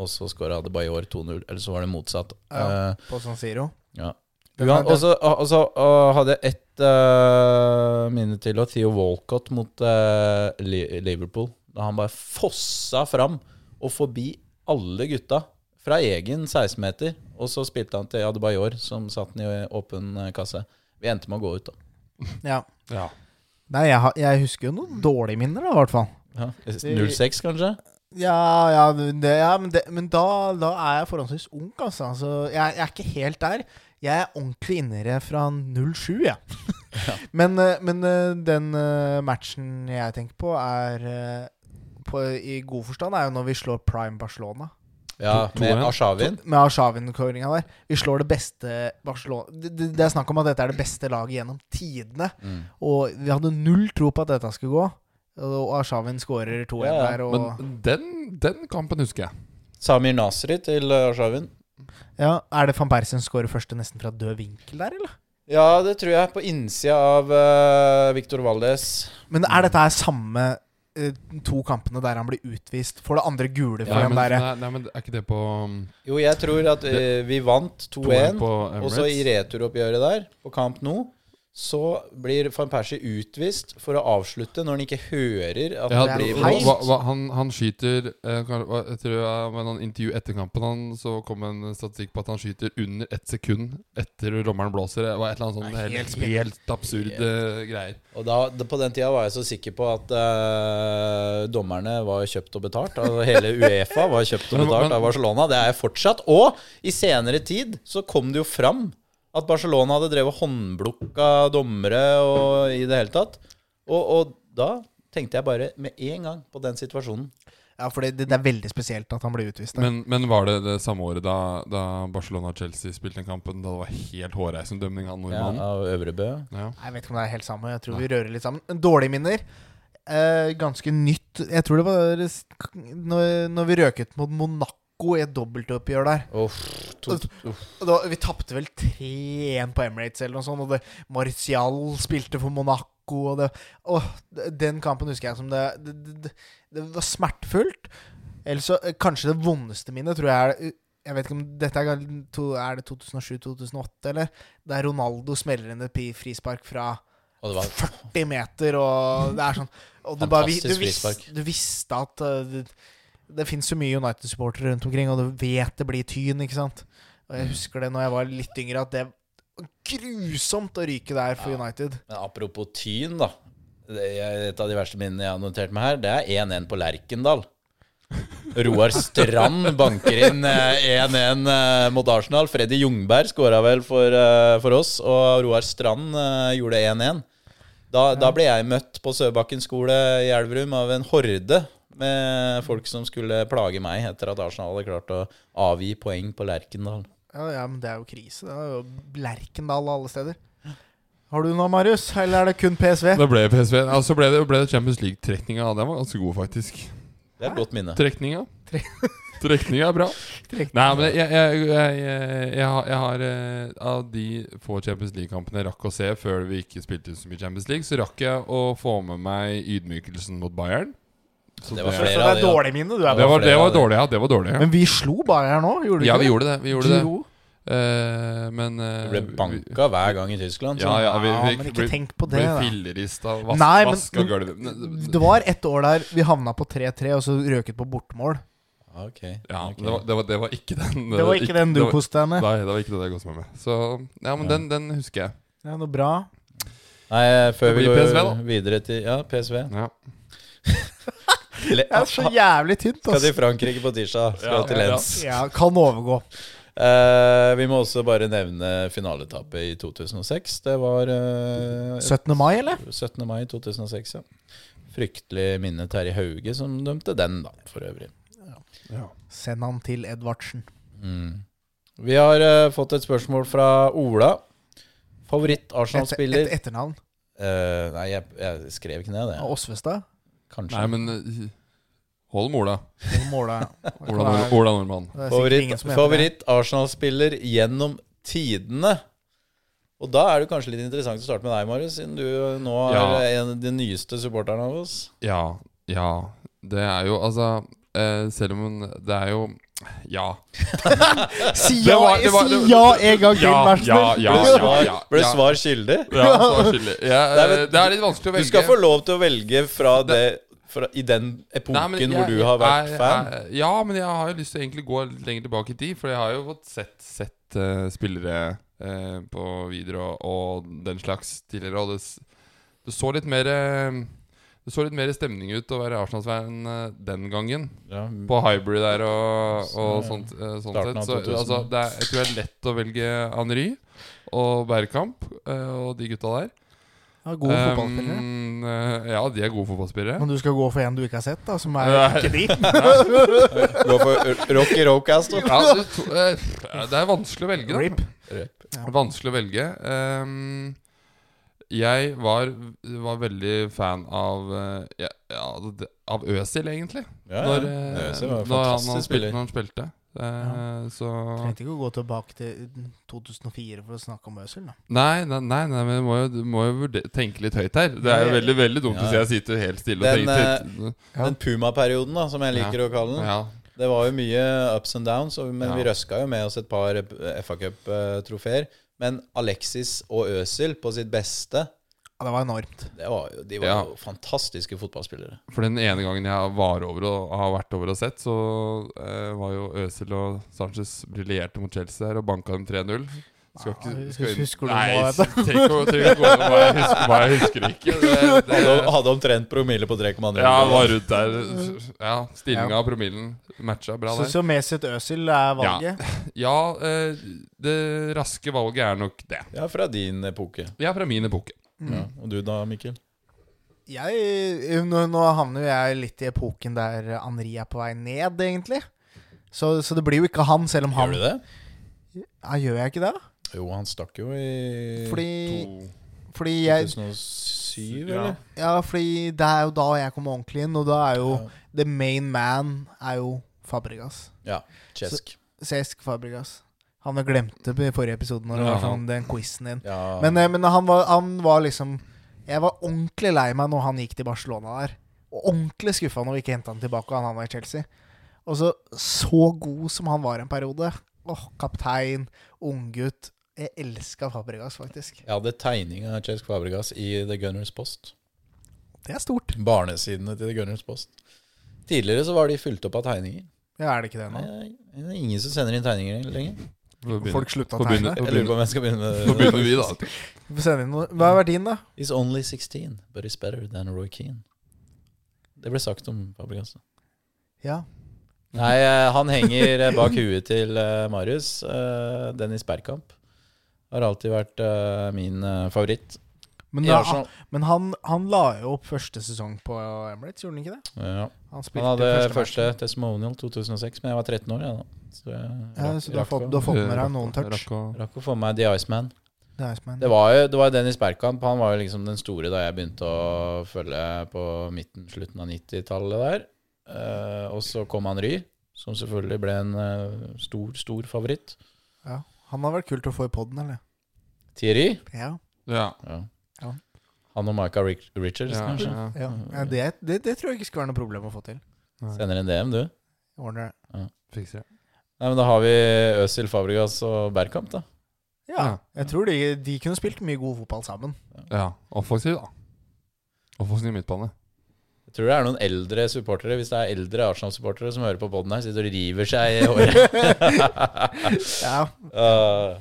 B: og så skåra Adebayor 2-0. Eller så var det motsatt.
A: Ja.
B: Eh,
A: På San Siro.
B: ja.
A: Den
B: Ja,
A: er-
B: og så og så, og hadde jeg ett eh, minne til, og Theo Walcott mot eh, Li- Liverpool. Da han bare fossa fram og forbi alle gutta fra egen 16-meter. Og så spilte han til Adebayor, som satt den i åpen eh, kasse. Vi endte med å gå ut, da.
A: Ja.
C: Ja.
A: Nei, jeg, har- jeg husker jo noen dårlige minner, da, i hvert fall.
B: Ja. 0-6, kanskje?
A: Ja, ja, det, ja men, det, men da, da er jeg forholdsvis ung, altså. altså jeg, jeg er ikke helt der. Jeg er ordentlig innere fra 07, jeg. men, eh, men eh, den eh, matchen jeg tenker på, er eh, på, I god forstand er jo når vi slår Prime Barcelona.
B: Ja,
C: To- to
B: med
C: igjen.
B: Arshavin.
A: Med Arshavin-kåringa der. Vi slår det beste Barcelona det, det, det er snakk om at dette er det beste laget gjennom tidene.
C: mm.
A: Og vi hadde null tro på at dette skulle gå. Og Arshavin skårer 2-1
B: Ja, ja.
A: der. Og,
C: Men den, den kampen husker jeg.
B: Samir Nasri til eh, Arshavin.
A: Ja, Er det van Persie som skårer første nesten fra død vinkel der, eller?
B: Ja, det tror jeg. På innsida av eh, Victor Valdes.
A: Men
C: Mm.
A: er dette her samme eh, to kampene der han blir utvist? Får det andre gule eh? for
C: Nei,
A: den
C: men,
A: derre
C: nei, nei, men er ikke det på um,
B: Jo, jeg tror at eh, vi vant 2-1.
C: 2-1 på
B: Og så i
C: Emirates?
B: returoppgjøret der, på Camp Nou, så blir van Persie utvist for å avslutte når han ikke hører at
C: Ja,
A: det
B: det blir
A: er
C: hva,
A: feil.
B: blåst.
C: hva, hva, han, han skyter eh, kan- hva- Jeg tror jeg var noen intervju etter kampen han, Så kom en statistikk på at han skyter under ett sekund etter rommeren blåser. Det var et eller annet sånn
A: Nei, helt
C: helt,
A: spill.
C: helt absurd eh, greier.
B: Og da, da- på den tida var jeg så sikker på at eh, dommerne var kjøpt og betalt. Altså hele Uefa var kjøpt og
C: Men-
B: betalt
C: men-
B: av Barcelona. Det er jeg fortsatt. Og i senere tid så kom det jo fram at Barcelona hadde drevet håndblukka dommere og i det hele tatt. Og, og da tenkte jeg bare med en gang på den situasjonen.
A: Ja, for det, det er veldig spesielt at han blir utvist. der.
C: Men, men var det det samme året da, da Barcelona og Chelsea spilte den kampen? Da det var helt hårreisende dømming
B: Ja,
C: av nordmannen?
B: av Øvrebø.
C: Ja.
A: Nei, Jeg vet ikke om det er helt samme. Jeg tror vi rører litt sammen. Dårlige minner. Eh, ganske nytt. Jeg tror det var s- når, når vi røket mot Monaco Marokko i et dobbeltoppgjør der.
B: Uff, to, uff.
A: Og da, vi tapte vel 3-1 på Emirates eller noe sånt, og det, Martial spilte for Monaco, og det Åh, d- den kampen husker jeg som det Det, det, det var smertefullt. Eller så eh, Kanskje det vondeste minnet, tror jeg er eh, Jeg vet ikke om dette er, gal- to- er det 2007-2008, eller? Der Ronaldo smeller inn et pi- frispark fra
B: Og det var
A: 40 meter, og det er sånn og du, bare, vi- du,
B: Fantastisk
A: visste,
B: frispark.
A: du visste at eh, det, det fins jo mye United-supportere rundt omkring, og du vet det blir tyn, ikke sant? Og
B: Mm.
A: jeg husker det når jeg var litt yngre, at det var grusomt å ryke der for
B: Ja.
A: United.
B: Men apropos Tyn, da. Det er et av de verste minnene jeg har notert meg her, det er 1-1 på Lerkendal. Roar Strand banker inn eh, 1-1 eh, mot Arsenal. Freddy Jungberg skåra vel for, eh, for oss, og Roar Strand eh, gjorde 1-1. Da, da ble jeg møtt på Søbakken skole i Elverum av en horde med folk som skulle plage meg etter at Arsenal hadde klart å avgi poeng på Lerkendal.
A: Ja, ja, men det er jo krise. Det er jo Lerkendal og alle steder. Har du noe, Marius? Eller er det kun PSV?
C: Da ble det PSV. Ja, så altså ble det, ble det Champions League-trekninga. Den var ganske god, faktisk.
B: Det er et godt minne.
C: Trekninga. Trekninga er bra.
A: Trekninga.
C: Nei, men jeg, jeg, jeg, jeg, jeg, har, jeg har eh, Av de få Champions League-kampene jeg rakk å se før vi ikke spilte så mye Champions League, så rakk jeg å få med meg ydmykelsen mot Bayern. Så
B: Det var
A: Så det
B: flere av
A: er
B: de, ja.
A: dårlig minne du er
C: det
A: på.
C: var, det var dårlig, ja. Det var dårlig. Ja,
A: Men vi slo Bayern nå, gjorde vi
C: ja
A: ikke
C: vi gjorde det. Vi gjorde det.
A: Jo.
C: Eh, men eh,
B: Du ble
C: vi-
B: banka hver gang i Tyskland. så-
C: Ja, ja, vi,
A: Ja,
C: vi,
A: men ikke
C: ble-
A: tenk på
C: Ble
A: det, da.
C: fillerista, vas,
A: Nei, men-
C: vaska
A: men-
C: gulvet
A: Det var et år der vi havna på 3-3, og så røket på bortmål.
B: Ah, Ok.
C: Ja,
B: ok.
C: det var, det, var, det var ikke den
A: Det var ikke den du
C: det var-
A: koste deg med.
C: Nei, det var ikke det jeg koste meg med. Så ja, men Den, den husker jeg.
A: Ja, noe bra.
B: Nei, eh, før
C: Det
B: vi
C: blir
B: går
C: PSV da.
B: videre til Ja, PSV.
C: Ja.
B: Le
A: Det er så jævlig tynt,
B: skal til
A: altså.
B: Frankrike på tirsdag. Skal
C: Ja,
B: til
C: ja.
B: Lens.
A: Ja, kan overgå.
B: Eh, vi må også bare nevne finaletapet i 2006. Det var eh,
A: 17. mai, eller?
B: 17. mai 2006, ja. Fryktelig minne Terje Hauge som dømte den, da, for øvrig.
C: Ja.
A: Send han til Edvardsen.
B: Mm. Vi har eh, fått et spørsmål fra Ola.
A: Et, Altså, et,
B: Favoritt-Arsenal-spiller
A: etternavn.
B: Eh, Nei, jeg, jeg skrev ikke ned det.
A: Og Åsvestad.
B: Kanskje.
C: Nei, men eh, hold med Ola.
A: Og Måla. Det kan
C: Ola, Nord-
A: være-
C: Ola Nordmann.
A: det er sikkert ingen
B: Favoritt,
A: som heter det.
B: favoritt Arsenal-spiller gjennom tidene. Og da er det kanskje litt interessant å starte med deg, Marius, siden du nå er
C: Ja.
B: en av de nyeste supporterne av oss.
C: Ja, ja. Det er jo altså eh, Selv om det er jo Ja.
A: Si
C: Det
A: ja,
C: var- det var-
A: si
C: det-
A: ja en gang til, vær så
C: ja,
A: snill!
C: ja,
B: Ble du
C: ja,
B: svar,
C: ja,
B: ble du
C: ja.
B: svar skyldig?
C: ja så skyldig. ja
B: Nei,
C: eh,
B: men
C: det er litt vanskelig å
B: Du
C: velge.
B: skal få lov til å velge fra det fra, i den epoken
C: Nei, men
B: hvor
C: jeg-
B: du har vært
C: jeg-
B: fan.
C: jeg- Ja, men jeg har jo lyst til å egentlig gå litt lenger tilbake i tid, for jeg har jo fått sett, sett eh, spillere eh, på videre og, og den slags tidligere, og det, s- det så litt mer eh, det så litt mer stemning ut å være Arsenal-fan eh, den gangen.
B: Ja,
C: På Hybrid der og, og
B: Så-
C: sånt. eh, sånt
B: starten
C: sett.
B: av
C: Så,
B: 2000.
C: altså, det er, jeg tror det er lett å velge Henry og Bergkamp eh, og de gutta der.
A: Ja, gode
C: Eh,
A: fotballspillere.
C: eh, ja, de er gode fotballspillere.
A: Men du skal gå for en du ikke har sett, da, som er
C: Nei.
A: ikke de?
B: Gå for Rocky Rocast. da.
C: Ja, det, to, eh, det er vanskelig å velge, da.
A: Rip.
C: Vanskelig å velge. Ehm, jeg var, var veldig fan av eh, ja, ja, det- av Øsil, egentlig.
B: Ja,
C: Når,
B: ja.
C: eh,
B: Øsil var en
C: når han-
B: fantastisk
C: han spilte.
B: spiller.
C: Når han spilte. Eh, Så
A: Trengte ikke å gå tilbake til 2004 for å snakke om Øzil, da.
C: Nei, nei, nei, nei men du må jo, du må jo vurde, tenke litt høyt her. Det er jo veldig veldig dumt
B: Ja,
C: hvis
B: ja.
C: jeg sitter helt stille og
B: Den,
A: eh,
C: tenker litt.
B: Den Puma-perioden, da, som jeg liker å kalle den.
C: Ja.
B: Det var jo mye ups and downs, og- men
C: Ja.
B: vi røska jo med oss et par eh, FA Cup-trofeer. Men Alexis og Øsil på sitt beste,
A: Ja, det var enormt.
B: det var jo, de var
C: Ja.
B: jo fantastiske fotballspillere.
C: For den ene gangen jeg var over og har vært over og sett, så eh, var jo Øzil og Sanchez briljerte mot Chelsea her og banka dem 3-0. Skal ikke,
A: Ja,
C: skal inn-
A: Ah, husker du
C: Nei,
A: hva det
C: tenk å tenk å gå gjennom hva jeg husker, hva jeg husker ikke. Det, det,
B: Hadde, hadde omtrent promille på 3,9.
C: ja, var rundt der. Ja, Stillinga
A: Ja.
C: og promillen matcha bra
A: Så,
C: der.
A: så Mesut Øzil er valget.
C: Ja, eh, det raske valget er nok det.
B: Ja, fra din epoke.
C: Ja, fra min epoke.
A: Mm.
B: Ja. Og du da, Mikkel?
A: Jeg, nå, nå havner jo jeg litt i epoken der Henri er på vei ned, egentlig. Så, så det blir jo ikke han, selv om han
B: Gjør du det?
A: Ja, gjør jeg ikke det?
B: Jo, han stakk jo i
A: Fordi,
C: To-
A: fordi jeg
B: 2007,
C: Ja.
B: eller?
A: Ja, fordi det er jo da jeg kommer ordentlig inn, og da er jo
B: Ja.
A: the main man er jo Fabregas.
B: Ja, Cesc.
A: Cesc Fabregas. Han jeg glemte på- i forrige episode når det
C: Ja,
A: var
C: han.
A: sånn, den quizen din.
B: Ja.
A: Men, eh, men han, var, han var liksom Jeg var ordentlig lei meg når han gikk til Barcelona der. Og ordentlig skuffa når vi ikke henta han tilbake og han havna i Chelsea. Og så så god som han var en periode. Åh, kaptein, unggutt. Jeg elska Fabregas, faktisk.
B: Jeg hadde tegning av Cesc Fabregas i The Gunners Post.
A: Det er stort.
B: Barnesidene til The Gunners Post. Tidligere så var de fylt opp av tegninger.
A: Ja, er det ikke det nå?
B: Nei, Eh, Det er ingen som sender inn tegninger lenger.
A: Folk slutta å
C: Får begynne.
A: tegne.
B: Jeg lurer på om jeg skal begynne
C: Nå
B: med
C: begynner vi, da.
A: Vi får sende inn noe. Hva er verdien, da?
B: He's only 16, but he's better than Roy Keane. Det ble sagt om Fabregas.
A: Ja.
B: Nei, eh, han henger eh, bak huet til eh, Marius. Eh, Dennis Bergkamp har alltid vært eh, min eh, favoritt.
A: Men,
B: i
A: da,
B: Arsenal.
A: men han, han la jo opp første sesong på Emirates, gjorde han ikke det?
B: Ja.
A: Han,
B: Han
A: spilte
B: hadde
A: matchen.
B: første testimonial 2006, men jeg var 13 år. Ja, da. Så jeg
A: Ja,
B: rakk-
A: så du har
B: rakk
A: fått,
B: å-
A: du har fått med deg noen
C: Rakk å-
A: touch.
C: rakk å-
B: rakk å få meg The Iceman.
A: Det er Iceman.
B: Det var jo det var jo Dennis Bergkamp. Han var jo liksom den store da jeg begynte å følge på midten, slutten av 90-tallet der. Eh, og så kom han Ry, som selvfølgelig ble en eh, stor, stor favoritt.
A: Ja. Han har vært kult å få i poden, eller?
B: Thierry.
A: Ja.
C: Ja.
B: Ja.
A: Ja.
B: Han og Micah Rick Richards,
C: ja,
B: kanskje.
C: ja.
A: ja. ja det, det, det tror jeg ikke skal være noe problem å få til.
B: Sender en DM, du.
A: Ordner det.
C: Fikser det.
B: Nei, men Da har vi Øzil Fabregas og Bergkamp, da.
A: Ja,
C: Ja.
A: jeg tror de, de kunne spilt mye god fotball sammen.
C: Ja. Offensiv, da. Offensiv midtbane.
B: Jeg tror det er noen eldre supportere, hvis det er eldre Arsenal-supportere som hører på poden her, sitter og river seg i håret.
A: Ja,
B: Uh,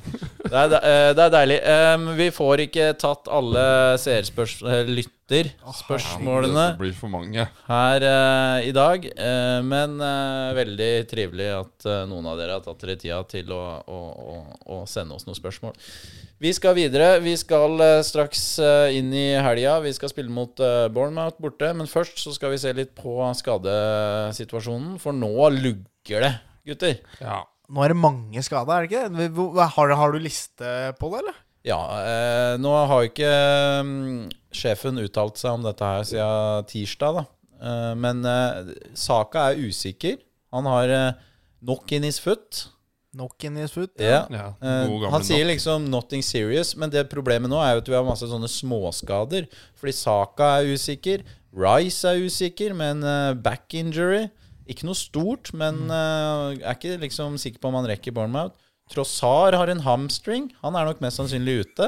B: det, er, de- eh, det er deilig. Um, vi får ikke tatt alle seerspørs- eh, lytterspørsmålene
C: Det blir for mange.
B: her eh, i dag, eh, men eh, veldig trivelig at eh, noen av dere har tatt dere tida til å, å, å, å sende oss noen spørsmål. Vi skal videre. Vi skal eh, straks eh, inn i helga. Vi skal spille mot eh, Bournemouth borte, men først så skal vi se litt på skadesituasjonen, for nå lugger det, gutter.
C: Ja.
A: Nå er det mange skader, er det ikke det? Hvor- hva- Har, har du liste på det, eller?
B: Ja, eh, nå har jo ikke mm, sjefen uttalt seg om dette her siden tirsdag, da. Eh, men eh, saka er usikker. Han har eh, knock in his foot.
A: Knock in his foot.
B: Ja.
C: ja.
B: Eh,
C: God
B: han
C: gamle
B: sier liksom 'nothing serious', men det problemet nå er jo at vi har masse sånne småskader. Fordi Saka er usikker, Rice er usikker med en eh, back injury. Ikke noe stort, men
C: Mm.
B: eh, er ikke liksom sikker på om han rekker Bournemouth. Trossar har en hamstring. Han er nok mest sannsynlig ute.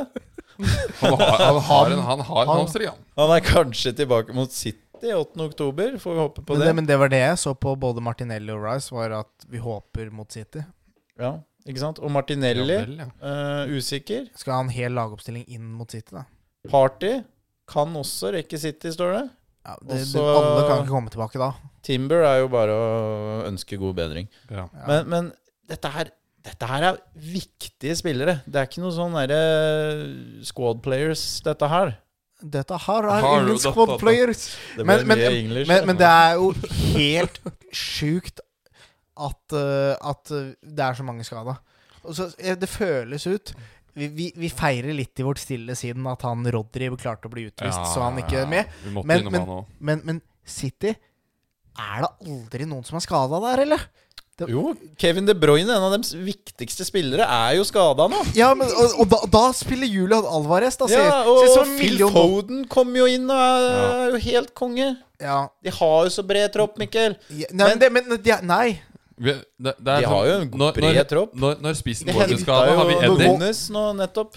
C: Han har, han har en, han har en hamstring, han.
B: Han er kanskje tilbake mot City 8. oktober, får vi håpe på
A: Men
B: det.
A: det, men det var det jeg så på både Martinelli og Rice, var at vi håper mot City.
B: Ja, ikke sant? Og Martinelli,
C: Ja, vel, ja.
B: eh, usikker.
A: Skal ha en hel lagoppstilling inn mot City, da.
B: Party kan også rekke City, står det.
A: Ja, det,
B: Også-
A: det, alle kan ikke komme tilbake da.
B: Timber er jo bare å ønske god bedring.
C: Ja.
A: Ja.
B: Men, men dette, her, dette her er viktige spillere. Det er ikke noe sånn derre squad players, dette her.
A: Dette her er
C: Har du
A: ingen
C: dette,
A: squad
C: da?
A: players.
B: Det
A: Men-
B: ble
A: men-
B: mye English.
A: Men, men det er jo helt sjukt at, eh, at eh, det er så mange skada. Og så, eh, det føles ut vi, vi, vi feirer litt i vårt stille siden at han Rodri klarte å bli utvist,
C: Ja,
A: så han ikke
C: ja,
A: er med.
C: Vi måtte
A: Men-
C: innom
A: men-
C: han òg.
A: Men, men City Er det aldri noen som er skada der, eller?
B: Jo, Kevin De Bruyne, en av deres viktigste spillere, er jo skada nå.
A: Ja, men, og, og da, da spiller Julian Alvarez, da. Ser,
B: Ja, og
A: ser ut som en
B: Phil
A: million-
B: Foden kom jo inn og er er jo helt konge.
A: Ja,
B: De har jo så bred tropp, Mikkel.
A: ja, nei, men, det, men de, Nei.
C: Vi, det, det er sånn-
B: De har jo en
C: når-
B: bred
C: når-
B: tropp.
C: Når, når spissen
B: De
C: vår blir
B: henta
C: skada,
B: jo
C: har vi Eddie.
B: Nunes nå nettopp.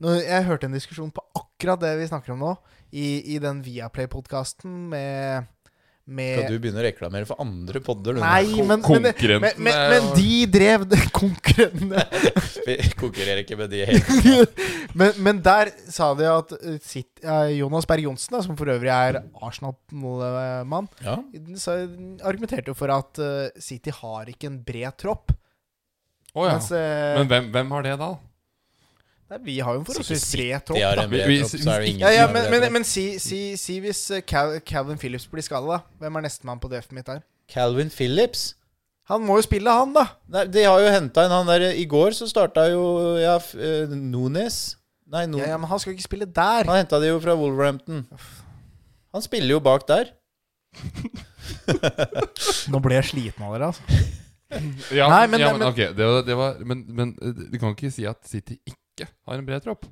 A: Nå, jeg hørte en diskusjon på akkurat det vi snakker om nå, i, i den Viaplay-podkasten med, med
B: Skal du begynne å reklamere for andre podder? du, nå?
A: Nei,
C: Kon-
A: men, men, men, men,
C: konkurrentene
A: men
C: og-
A: de drev det konkurrentene.
B: Vi konkurrerer ikke med de helt.
A: Men, men der sa de at eh, sitt, eh, Jonas Berg Johnsen, da, som for øvrig er Arsenal-mann,
B: Ja.
A: argumenterte jo for at eh, City har ikke en bred tropp.
C: Å, ja.
A: Mens eh,
C: Men hvem, hvem har det, da?
A: nei, vi har jo en forholdsvis
B: City
A: bred
B: De
A: tropp.
B: har
A: Da.
B: en bred
C: Vi- vi-
B: tropp, så er det ingen
A: Ja, ja,
B: som har
A: men,
B: bred
A: men,
B: tropp.
A: men si, si, si hvis eh, Cal Calvin Phillips blir skada, da. Hvem er nestemann på DF mitt her?
B: Calvin Phillips?
A: Han må jo spille, han, da.
B: Nei, de har jo henta inn han der eh, I går så starta jo ja, f- eh, Nunes. Nei, Nunes.
A: Ja, ja, Men han skal ikke spille der.
B: Han henta det jo fra Wolverhampton. Han spiller jo bak der.
A: Nå ble jeg sliten av dere, altså.
C: Ja,
A: Nei,
C: men,
A: men-
C: ja, men,
A: men-
C: ok, det var, det var, men, men eh, du kan ikke si at City ikke har en bred tropp.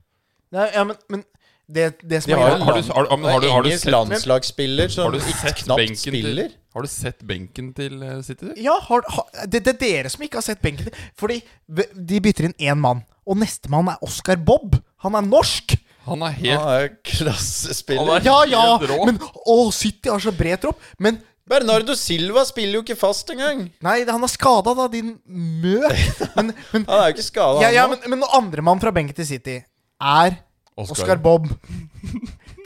A: Nei, ja, men, men det, det som
B: De
A: er
B: har
A: greia-
B: en
C: Har du- har du- ja, men har du- har du
B: engelsk
C: sett-
B: landslagsspiller som
C: Har du
B: ikke
C: sett
B: knapt
C: benken
B: spiller.
C: til Har du sett benken til eh, City? du?
A: Ja, har, har, det, det er dere som ikke har sett benken. Fordi v- de bytter inn én mann, og nestemann er Oscar Bobb. Han er norsk!
C: Han er helt
A: Ah,
B: Han er klassespiller.
C: Han er-
A: Ja, ja!
C: Helt rå.
A: Men å, City har så bred tropp. Men
B: Bernardo Silva spiller jo ikke fast engang.
A: nei, han er skada, da, din mø. Men, men,
B: Han er jo ikke skada.
A: ja, ja, men, men når andremann fra benken til City er Oscar Bob.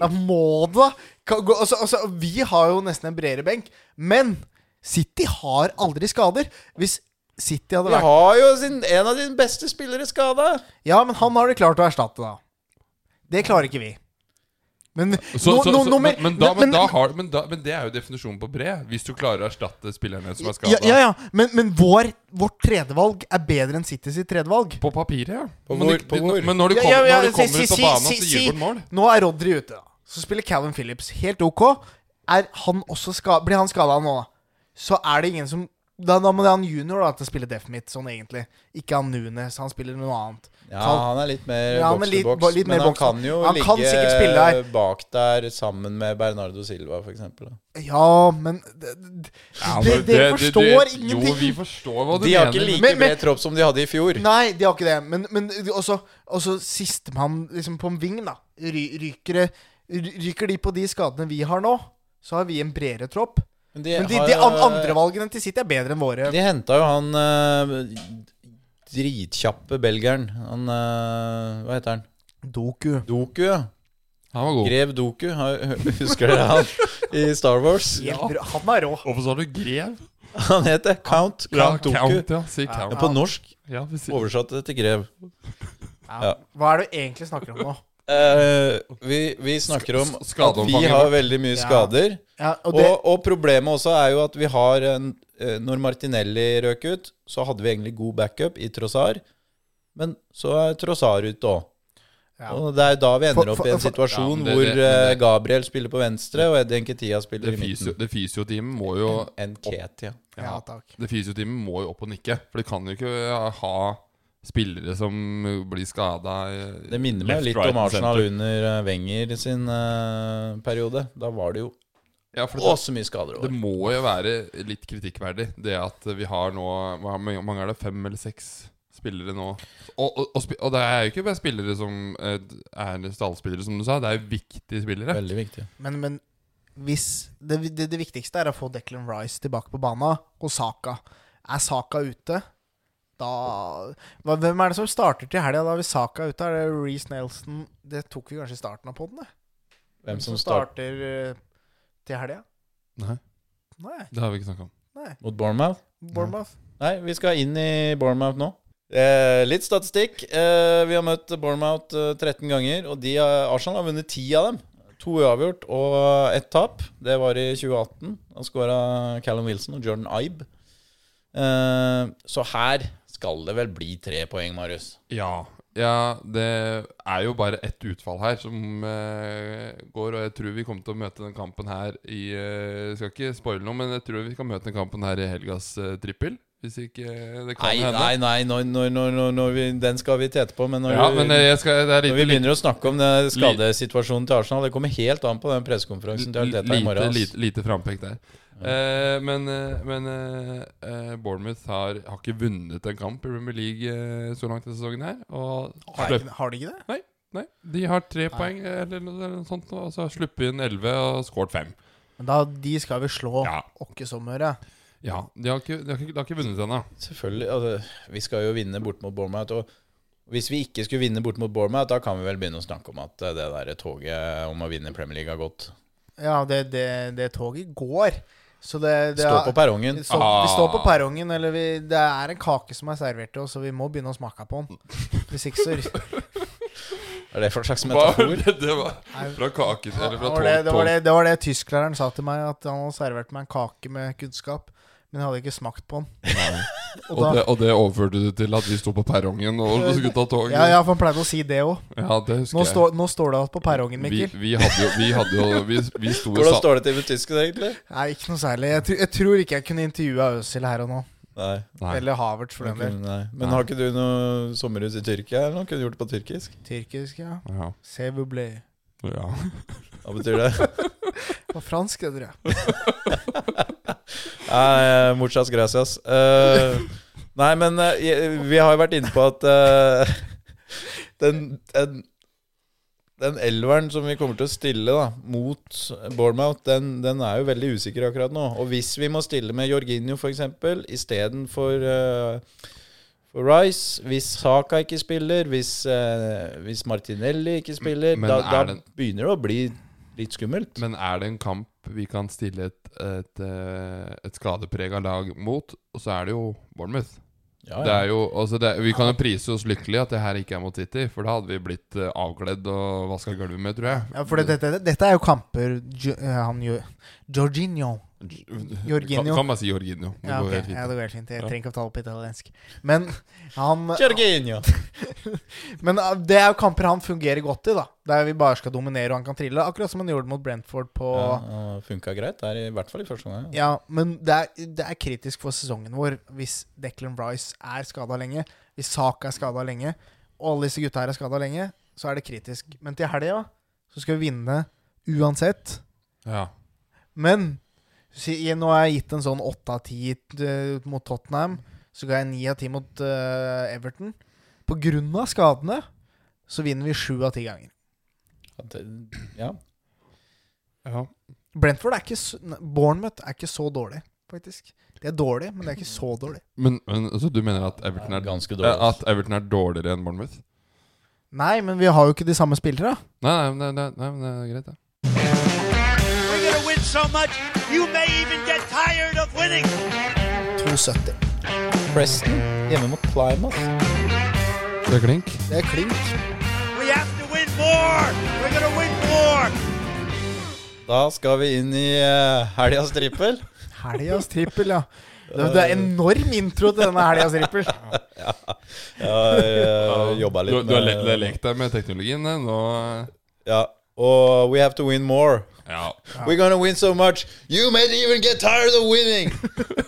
A: Da må det da ka- gå- altså, altså, Vi har jo nesten en bredere benk, men City har aldri skader. Hvis City hadde
B: Vi
A: vært
B: har jo sin, en av dine beste spillere skada.
A: Ja, men han har de klart å erstatte, da. Det klarer ikke vi. Men
C: Så,
A: no-
C: så,
A: no-
C: så,
A: nummer-
C: men, men, da, men,
A: men-
C: da har, men, da, men det er jo definisjonen på bred. Hvis du klarer å erstatte spillerne som er skada.
A: ja, ja, ja, men, men vår, vårt tredjevalg er bedre enn City sitt tredjevalg.
C: På papiret, ja.
B: På
C: men,
B: hvor-
C: du-
B: på
C: du-
B: hvor?
C: men når du
A: Ja,
C: kommer,
A: ja, ja,
C: når du
A: si-
C: kommer
A: si-
C: ut på
A: si-
C: banen,
A: si-
C: så
A: si-
C: gir du bort mål.
A: Nå er Rodri ute, da. Så spiller Calvin Phillips helt ok. Er han også ska Blir han skada nå, da, så er det ingen som da, da må det han junior da til å spille deaf mitt, sånn egentlig. Ikke han Nunes, han spiller noe annet.
B: Ja,
A: Kall-
B: han er litt mer
A: Ja,
B: box
A: men
B: to
A: litt-
B: box.
A: litt mer
B: Men han
A: box to-
B: kan jo
A: han
B: ligge
A: kan sikkert spille her.
B: bak der sammen med Bernardo Silva, f.eks.
A: Ja, men d- d- Dere
C: men
A: dere
C: det- det-
A: forstår
C: det-
A: ingenting!
C: Jo, vi forstår hva du
B: De har ikke
C: mener.
B: like
A: Men- men-
B: bred tropp som de hadde i fjor.
A: Nei, de har ikke det. Men, men også, også sistemann liksom på en ving, da. Ry, ryker, det- ry- ryker de på de skadene vi har nå, så har vi en bredere tropp.
B: Men de,
A: Men de,
B: har-
A: de an- andre valgene til City er bedre enn våre.
B: De henta jo han eh, dritkjappe belgieren. Han eh, Hva heter han?
A: Doku.
B: Doku, ja.
C: Han var god.
B: Grev Doku. har- Husker dere han i Star Wars?
A: Helt rå. Han er rå.
C: Hvorfor sa du grev?
B: Han het det. Count, Count Doku.
C: count, ja. Si count.
B: Men På norsk
C: Ja, vi sier-
B: oversatt det til grev. Ja.
A: Ja. Hva er det du egentlig snakker om nå?
B: Eh, vi, vi snakker om
C: Sk-
B: at vi
C: skadeomfanget
B: har
C: vårt.
B: veldig mye
A: Ja.
B: skader.
A: Ja, og
B: Og,
A: det,
B: og problemet også er jo at vi har en, eh, Når Martinelli røk ut, så hadde vi egentlig god backup i Trossar. Men så er Trossar ute òg.
A: ja.
B: Og det er da vi ender
A: For-
B: opp
A: for-
B: i en
A: for-
C: Ja,
B: situasjon
C: men det-
B: hvor
C: det- men
B: eh,
C: det-
B: Gabriel spiller på venstre, og Eddie Nketia spiller
C: Det
B: i
C: fysio-
B: midten.
C: det fysioteamet må jo
B: Nketia.
A: ja, takk.
C: Det fysioteamet må jo opp og nikke. For de kan jo ikke eh, ha spillere som blir eh, skada
B: Det minner meg litt om Arsenal under eh, Wenger sin eh, periode. Da var det jo
C: Ja, for
B: å
C: det,
B: så mye skader.
C: det
B: Over.
C: må jo være litt kritikkverdig, det at vi har nå Hvor mange er det? Fem eller seks spillere nå? Og, og, og, spi- og det er jo ikke bare spillere som eh, er stallspillere, som du sa. Det er jo viktige spillere.
B: Veldig viktig.
A: Men, men hvis det, det, det viktigste er å få Declan Rice tilbake på bana, og Saka. Er Saka ute, da hva, Hvem er det som starter til helga da hvis Saka er ute? Er det Reece Nelson Det tok vi kanskje i starten av poden, det.
B: Hvem som
A: eh,
B: starter
A: til helga?
C: Nei,
A: Nei.
C: det har vi ikke snakka om.
A: nei.
B: mot Bournemouth?
A: Bournemouth.
B: Nei, vi skal inn i Bournemouth nå. Eh, litt statistikk. Eh, vi har møtt Bournemouth eh, 13 ganger, og de, har- Arsenal har vunnet 10 av dem. To uavgjort og ett tap. Det var i 2018. Da skåra Callum Wilson og Jordan Ibe. Eh, så her skal det vel bli tre poeng, Marius.
C: Ja. ja, det er jo bare ett utfall her som eh, går, og jeg tror vi kommer til å møte den kampen her i eh, Skal ikke spoile noe, men jeg tror vi skal møte den kampen her i helgas eh, trippel. Hvis ikke eh, det kan
B: Nei,
C: hende.
B: nei, nei, når, når, når, når, når vi, den skal vi tete på. Men når,
C: Ja, men eh, jeg skal, det er
B: når vi
C: lite,
B: begynner å snakke om det skadesituasjonen til Arsenal, det kommer helt an på den pressekonferansen til Arteta i morgen.
C: lite,
B: ass.
C: lite, lite frampek der. Eh, men eh, men eh, eh, Bournemouth har, har ikke vunnet en kamp i Premier League eh, så langt denne sesongen her. Og
A: Har,
C: slupp-
A: ikke- har de ikke det?
C: nei, de har tre poeng eh, eller noe, eller noe sånt, og så har sluppet inn elleve og skåret fem.
A: Men da, de skal vi slå
C: Ja.
A: åkke som øre.
C: Ja, de har ikke, de har ikke, de har ikke vunnet ennå.
B: Selvfølgelig. Altså, vi skal jo vinne bort mot Bournemouth. Og hvis vi ikke skulle vinne bort mot Bournemouth, da kan vi vel begynne å snakke om at eh, det der toget om å vinne Premier League har gått.
A: Ja, det, det, det toget går. Så det, det
B: Stå på perrongen.
A: Vi står, vi står på perrongen, eller vi, det er en kake som er servert til oss, så vi må begynne å smake på den. Hvis ikke så
B: Er det for en slags
C: Hva var
B: metafor?
C: det? Det var fra
A: Det
C: kaken eller fra
A: var
C: tog,
A: det, det, var
C: tog.
A: det, det var det tysklæreren sa til meg, at han hadde servert meg en kake med kunnskap, men jeg hadde ikke smakt på den. Og
C: Og
A: da-
C: det, og det overførte du til at vi sto på perrongen og skulle ta toget?
A: Ja, ja, for han pleide å si det òg.
C: Ja, det husker
A: Nå,
C: jeg.
A: står- nå står det alt på perrongen,
C: vi,
A: Mikkel.
C: vi hadde jo Vi, hadde jo, vi, vi sto i
B: Hvordan
C: sa-
B: står det til med tysken, egentlig?
A: Nei, ikke noe særlig. Jeg, tr jeg tror ikke jeg kunne intervjua Øzil her og nå.
B: Nei.
C: Nei.
A: Eller Havertz, for den del.
B: Nei. Men har ikke du noe sommerhus i Tyrkia? eller noe? Kunne du gjort det på tyrkisk?
A: Tyrkisk, ja.
C: Ja.
A: Sevuble.
C: ja.
B: Hva betyr det?
A: Det var fransk, det, tror jeg.
B: Nei, muchas gracias. Eh, nei, men eh, jeg- vi har jo vært inne på at eh, den, den den elveren som vi kommer til å stille da, mot Bournemouth, den, den er jo veldig usikker akkurat nå. Og hvis vi må stille med Jorginho f.eks. istedenfor uh, Rice, hvis Saka ikke spiller, hvis, eh, hvis Martinelli ikke spiller,
C: Men
B: da,
C: er
B: da
C: den-
B: begynner det å bli litt skummelt.
C: Men er det en kamp vi kan stille et, et, eh, et skadeprega lag mot, og så er det jo Bournemouth.
B: ja,
C: Det
B: ja.
C: er jo, altså det, vi kan jo prise oss lykkelige at det her ikke er mot City, for da hadde vi blitt eh, avkledd og vaska gulvet med, tror jeg.
A: Ja, for det, dette, dette er jo kamper jo, eh, han gjør Jorginho. Jorginho.
C: Kan, kan man si Jorginho. Det
A: Ja,
C: går
A: ok.
C: helt fint.
A: ja, det går helt fint. Jeg
C: Ja.
A: trenger ikke å ta det på italiensk. Men han
B: Jorginho!
A: Men uh, det er jo kamper han fungerer godt i, da. Der vi bare skal dominere og han kan trille. Akkurat som han gjorde mot Brentford på
B: Ja,
A: Ja,
B: og funka greit der, i hvert fall i første omgang.
A: men det er, det er kritisk for sesongen vår hvis Declan Rice er skada lenge, hvis Saka er skada lenge, og alle disse gutta her er skada lenge, så er det kritisk. Men til helga så skal vi vinne uansett.
C: Ja.
A: Men si, jeg, nå har jeg gitt en sånn åtte av ti eh, mot Tottenham. Så ga jeg ni av ti mot eh, Everton. På grunn av skadene så vinner vi sju av ti ganger.
B: At det- Ja.
C: Ja.
A: Brentford er ikke så, nei, Bournemouth er ikke så dårlig, faktisk. De er dårlig, men det er ikke så dårlig.
C: Men, men altså, du mener at Everton
B: Ja,
C: er,
B: ganske dårlig.
C: eh, at Everton er dårligere enn Bournemouth?
A: Nei, men vi har jo ikke de samme spillere.
C: Nei, nei, nei, nei, nei, men det er greit, det.
E: We're going to win so much, you may even get tired of winning.
A: 2,70.
B: Preston hjemme mot Plymouth.
C: Det er klink.
A: Det er klink.
E: We have to win more. We're going to win more.
B: Da skal vi inn i uh, helgas trippel.
A: Helgas trippel, ja. Det, det er enorm intro til denne helgas trippel.
B: Jeg jobba
C: Du,
B: eh, litt
C: du har le- le- lekt deg med teknologien eh, nå. eh.
B: Ja. Og we have to win more.
C: Ja.
B: We're gonna win so much You may even get tired of winning!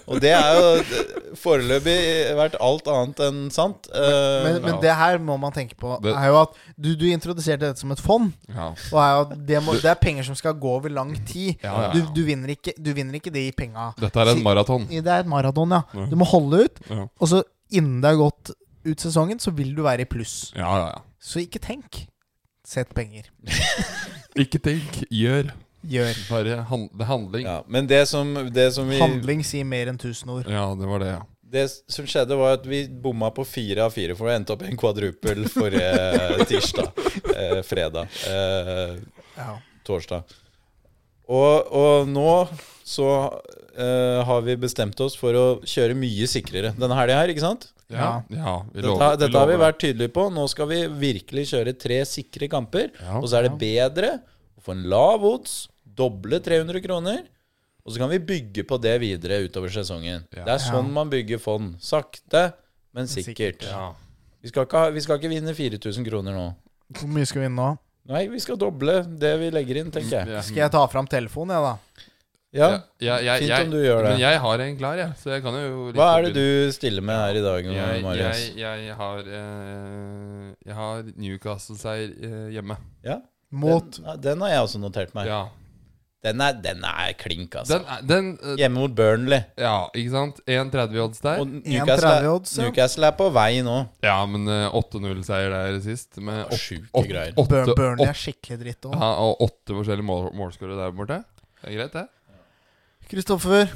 B: Og det er jo det- foreløpig vært alt annet enn sant. Eh,
A: Men, men det her må man tenke på.
C: Det-
A: Er jo at du, du introduserte dette som et fond.
C: ja.
A: Og er jo at det, må, det er penger som skal gå over lang tid.
C: Ja, ja, ja.
A: Du, du, vinner ikke, du vinner ikke de penga.
C: Dette er en maraton.
A: Det er et maraton, ja. Du må holde ut.
C: Ja.
A: Og så innen det har gått ut sesongen, så vil du være i pluss.
C: Ja, ja, ja.
A: Så ikke tenk. Sett penger.
C: Ikke tenk, gjør.
A: Gjør.
C: Bare han, det er handling. Ja.
B: Eh, ja, men det som, det som vi
A: Handling sier mer enn tusen ord.
C: det var det, ja.
B: Det som skjedde var at vi bomma på fire av fire, for det endte opp i en kvadrupel forrige tirsdag. Eh, fredag. Eh,
A: Ja.
B: torsdag. Og, og nå så eh, har vi bestemt oss for å kjøre mye sikrere denne helga her, ikke sant?
C: Ja, ja vi
B: Dette,
C: lover-
B: dette har vi
C: lover det.
B: vært tydelige på. Nå skal vi virkelig kjøre tre sikre kamper.
C: Ja.
B: og så er det bedre å få en lav odds, doble 300 kroner, og så kan vi bygge på det videre utover sesongen.
C: Ja.
B: Det er sånn man bygger fond. Sakte, men sikkert.
C: Ja.
B: Vi, skal ikke, ha- vi skal ikke vinne 4000 kroner nå.
A: Hvor mye skal vi vinne nå?
B: Nei, vi skal doble det vi legger inn, tenker jeg.
C: Ja.
A: Skal jeg ta fram telefonen, jeg, da?
B: Ja.
C: Ja, jeg,
B: Fint
C: jeg,
B: om du gjør det.
C: Men jeg har en klar, jeg. Så jeg kan jo litt
B: Hva er det
C: forbi-
B: du stiller med her i dag,
C: jeg,
B: Marius?
C: jeg, jeg har eh, Jeg har Newcastle-seier eh, hjemme.
B: Ja,
A: Mot
B: den, den har jeg også notert meg.
C: Ja.
B: Den, er, den er klink, altså.
C: Den, er- den eh,
B: Hjemme mot Burnley.
C: Ja, ikke sant? 1,30 odds der.
B: Og Newcastle,
A: 1,30 odds,
B: er-
A: ja.
B: Newcastle er på vei nå.
C: Ja, men eh, 8-0-seier der sist. Med åt-
B: Sjuke
C: åt-
B: greier.
C: åtte-
A: Burn Burnley
C: åtte-
A: er skikkelig dritt òg.
C: ja, og åtte forskjellige mål, målskårere der borte. Det er greit, det.
A: Kristoffer,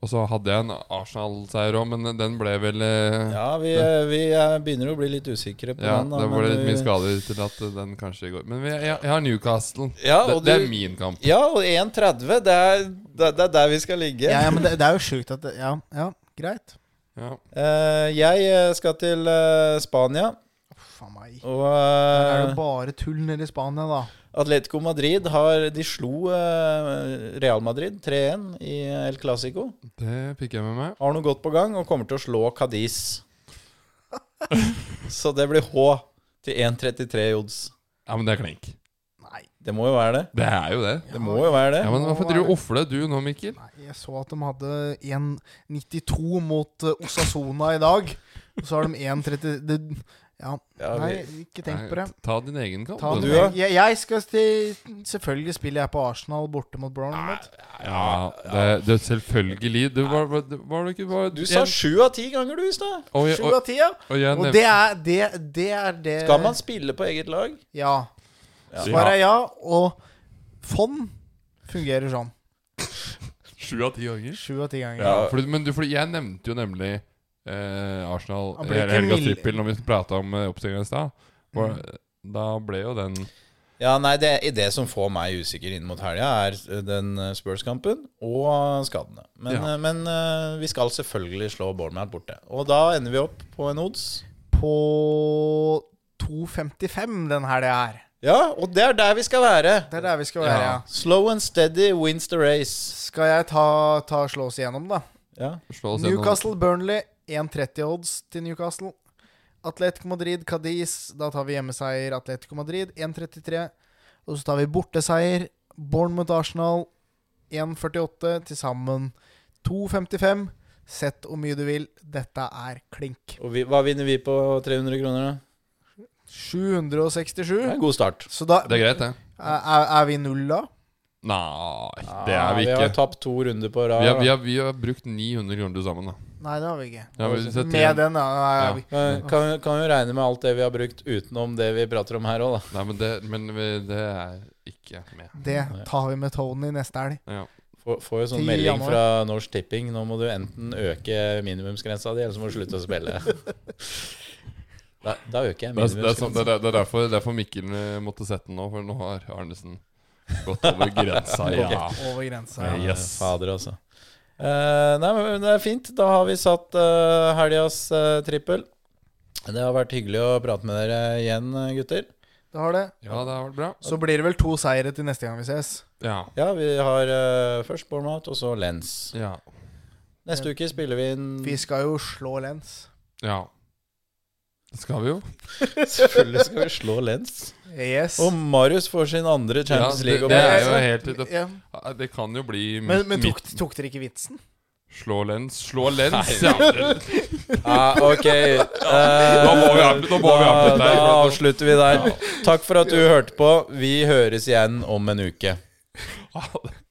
C: Og så hadde jeg en Arsenal-seier òg, men den ble vel eh,
B: Ja, vi, vi eh, begynner å bli litt usikre på
C: Ja,
B: den. da, men
C: det
B: eh,
C: var litt
B: vi-
C: mye skader til at den kanskje går. Men vi, jeg, jeg har Newcastle.
B: Ja,
C: det,
B: og
C: det
B: du-
C: er min kamp.
B: Ja, og 1,30, det, er- det, det er der vi skal ligge.
A: ja, ja, men det, det er jo sjukt at det, Ja, ja, greit.
C: Ja.
B: Eh, jeg eh, skal til eh, Spania.
A: Uff a meg.
B: Og
A: Der er
B: eh,
A: det bare tull nede i Spania, da.
B: Atletico Madrid har De slo eh, Real Madrid 3-1 i El Clásico.
C: Det fikk jeg med meg.
B: Har noe godt på gang og kommer til å slå Cadiz. Så det blir H til 1,33 i odds.
C: Ja, men det er klink.
A: Nei,
B: Det må jo være det.
C: Det er jo det.
B: Det må jo være det.
C: Ja, men Hvorfor driver du og ofler du nå, Mikkel?
A: nei, jeg så at de hadde 1,92 mot eh, Osasona i dag. Og så har de 1,30 det- Ja,
B: Ja, vi-
A: nei, ikke tenk på det.
C: Nei, Ta din egen kamp.
A: Ta
B: Og
A: den
B: du,
A: med.
B: da?
A: jeg, jeg skal til Selvfølgelig spiller jeg på Arsenal borte mot Bournemouth.
C: Ja, det, det er selvfølgelig. Du var, var, var du ikke var,
B: Du sa
C: jeg-
B: sju av ti ganger, du, i stad.
C: og jeg-
A: Sju
C: og-
A: av ti, ja.
C: og jeg
A: Og
C: nevnte-
A: det er det, det er det
B: eh, Skal man spille på eget lag?
A: Ja.
B: Ja.
A: Svaret er ja, og fond fungerer sånn.
C: Sju av ti ganger?
A: Sju av ti ganger.
B: Ja.
C: Fordi, men du, fordi jeg nevnte jo nemlig eh, Arsenal
A: Han ble
C: eller
A: ikke
C: Helgas
A: mild- Mm.
C: trippel når vi prata om eh, oppstillinga i stad. Hvor- Da ble jo den
B: Ja, nei, det, det som får meg usikker inn mot helga, er den eh, Spurs-kampen og skadene. Men,
C: Ja.
B: eh, men eh, vi skal selvfølgelig slå Bournemouth borte. Og da ender vi opp på en odds.
A: På 2,55 den helga her.
B: Ja, og det er der vi skal være.
A: Det er der vi skal være.
C: Ja.
A: Ja.
B: Slow and steady wins the race.
A: Skal jeg ta, ta slå oss igjennom, da?
B: Ja.
C: slå oss gjennom-
A: Newcastle-Burnley 1,30 odds til Newcastle. Atletico Madrid, Cadiz. Da tar vi hjemmeseier Atletico Madrid 1,33. Og så tar vi borteseier Bournemouth Arsenal 1,48. Til sammen 2,55. Sett hvor mye du vil. Dette er klink.
B: Og vi, hva vinner vi på 300 kroner, da? Det er
A: 767.
B: en god start.
A: Så da
C: Det er greit, det.
A: er, er vi null da?
C: Nei, Ah, det er vi
B: Ja, Ah, Vi har
C: ikke.
B: tapt to runder på rad.
C: Vi har, vi har, vi har brukt 900 kroner til sammen, da.
A: Nei, det har vi ikke.
C: Ja, vi setter
A: Med
C: igjen.
A: den, ja. er vi-
B: Eh, Kan, vi- kan jo regne med alt det vi har brukt utenom det vi prater om her òg, da.
C: Nei, men det, men vi, det er ikke med.
A: Det tar vi med Tony neste helg.
C: Ja.
B: Får, får jo
A: 10
B: sånn melding
A: januar.
B: fra Norsk Tipping. Nå må du enten øke minimumsgrensa di, eller så må du slutte å spille. Da, da øker jeg
C: Det, er, det, er sånn, det,
B: minimumsgrensa.
C: er, det er derfor, derfor Mikkel eh, måtte sette den nå, for nå har Arnesen gått over grensa. Ja.
A: Over grensa.
C: Ja,
A: Ja.
C: Yes.
B: Fader, altså. Eh, nei, men det er fint. Da har vi satt uh, helgas eh, trippel. Det har vært hyggelig å prate med dere igjen, eh, gutter.
A: Det har det.
C: ja, det har vært bra.
A: Så blir det vel to seire til neste gang vi ses.
C: Ja.
B: Ja, vi har eh, først Bournemouth, og så Lens.
C: Ja.
B: Neste uke spiller vi inn
A: Vi skal jo slå Lens.
C: ja. Det skal vi jo.
B: Selvfølgelig skal vi slå Lens.
A: Yes.
B: Og Marius får sin andre Champions
C: Ja, det-
B: League.
C: det
B: over.
C: er jo helt det,
A: ja.
C: det kan jo bli
A: Men, men
C: Mm. midt-
A: tok, tok dere ikke vitsen?
C: Slå lens, slå lens! Ja, det-
B: Ja, ok. Eh,
C: nå må vi avslutte- nå må vi avslutte
B: Da,
C: her.
B: da avslutter vi der. Takk for at du hørte på. Vi høres igjen om en uke.
C: Ha det.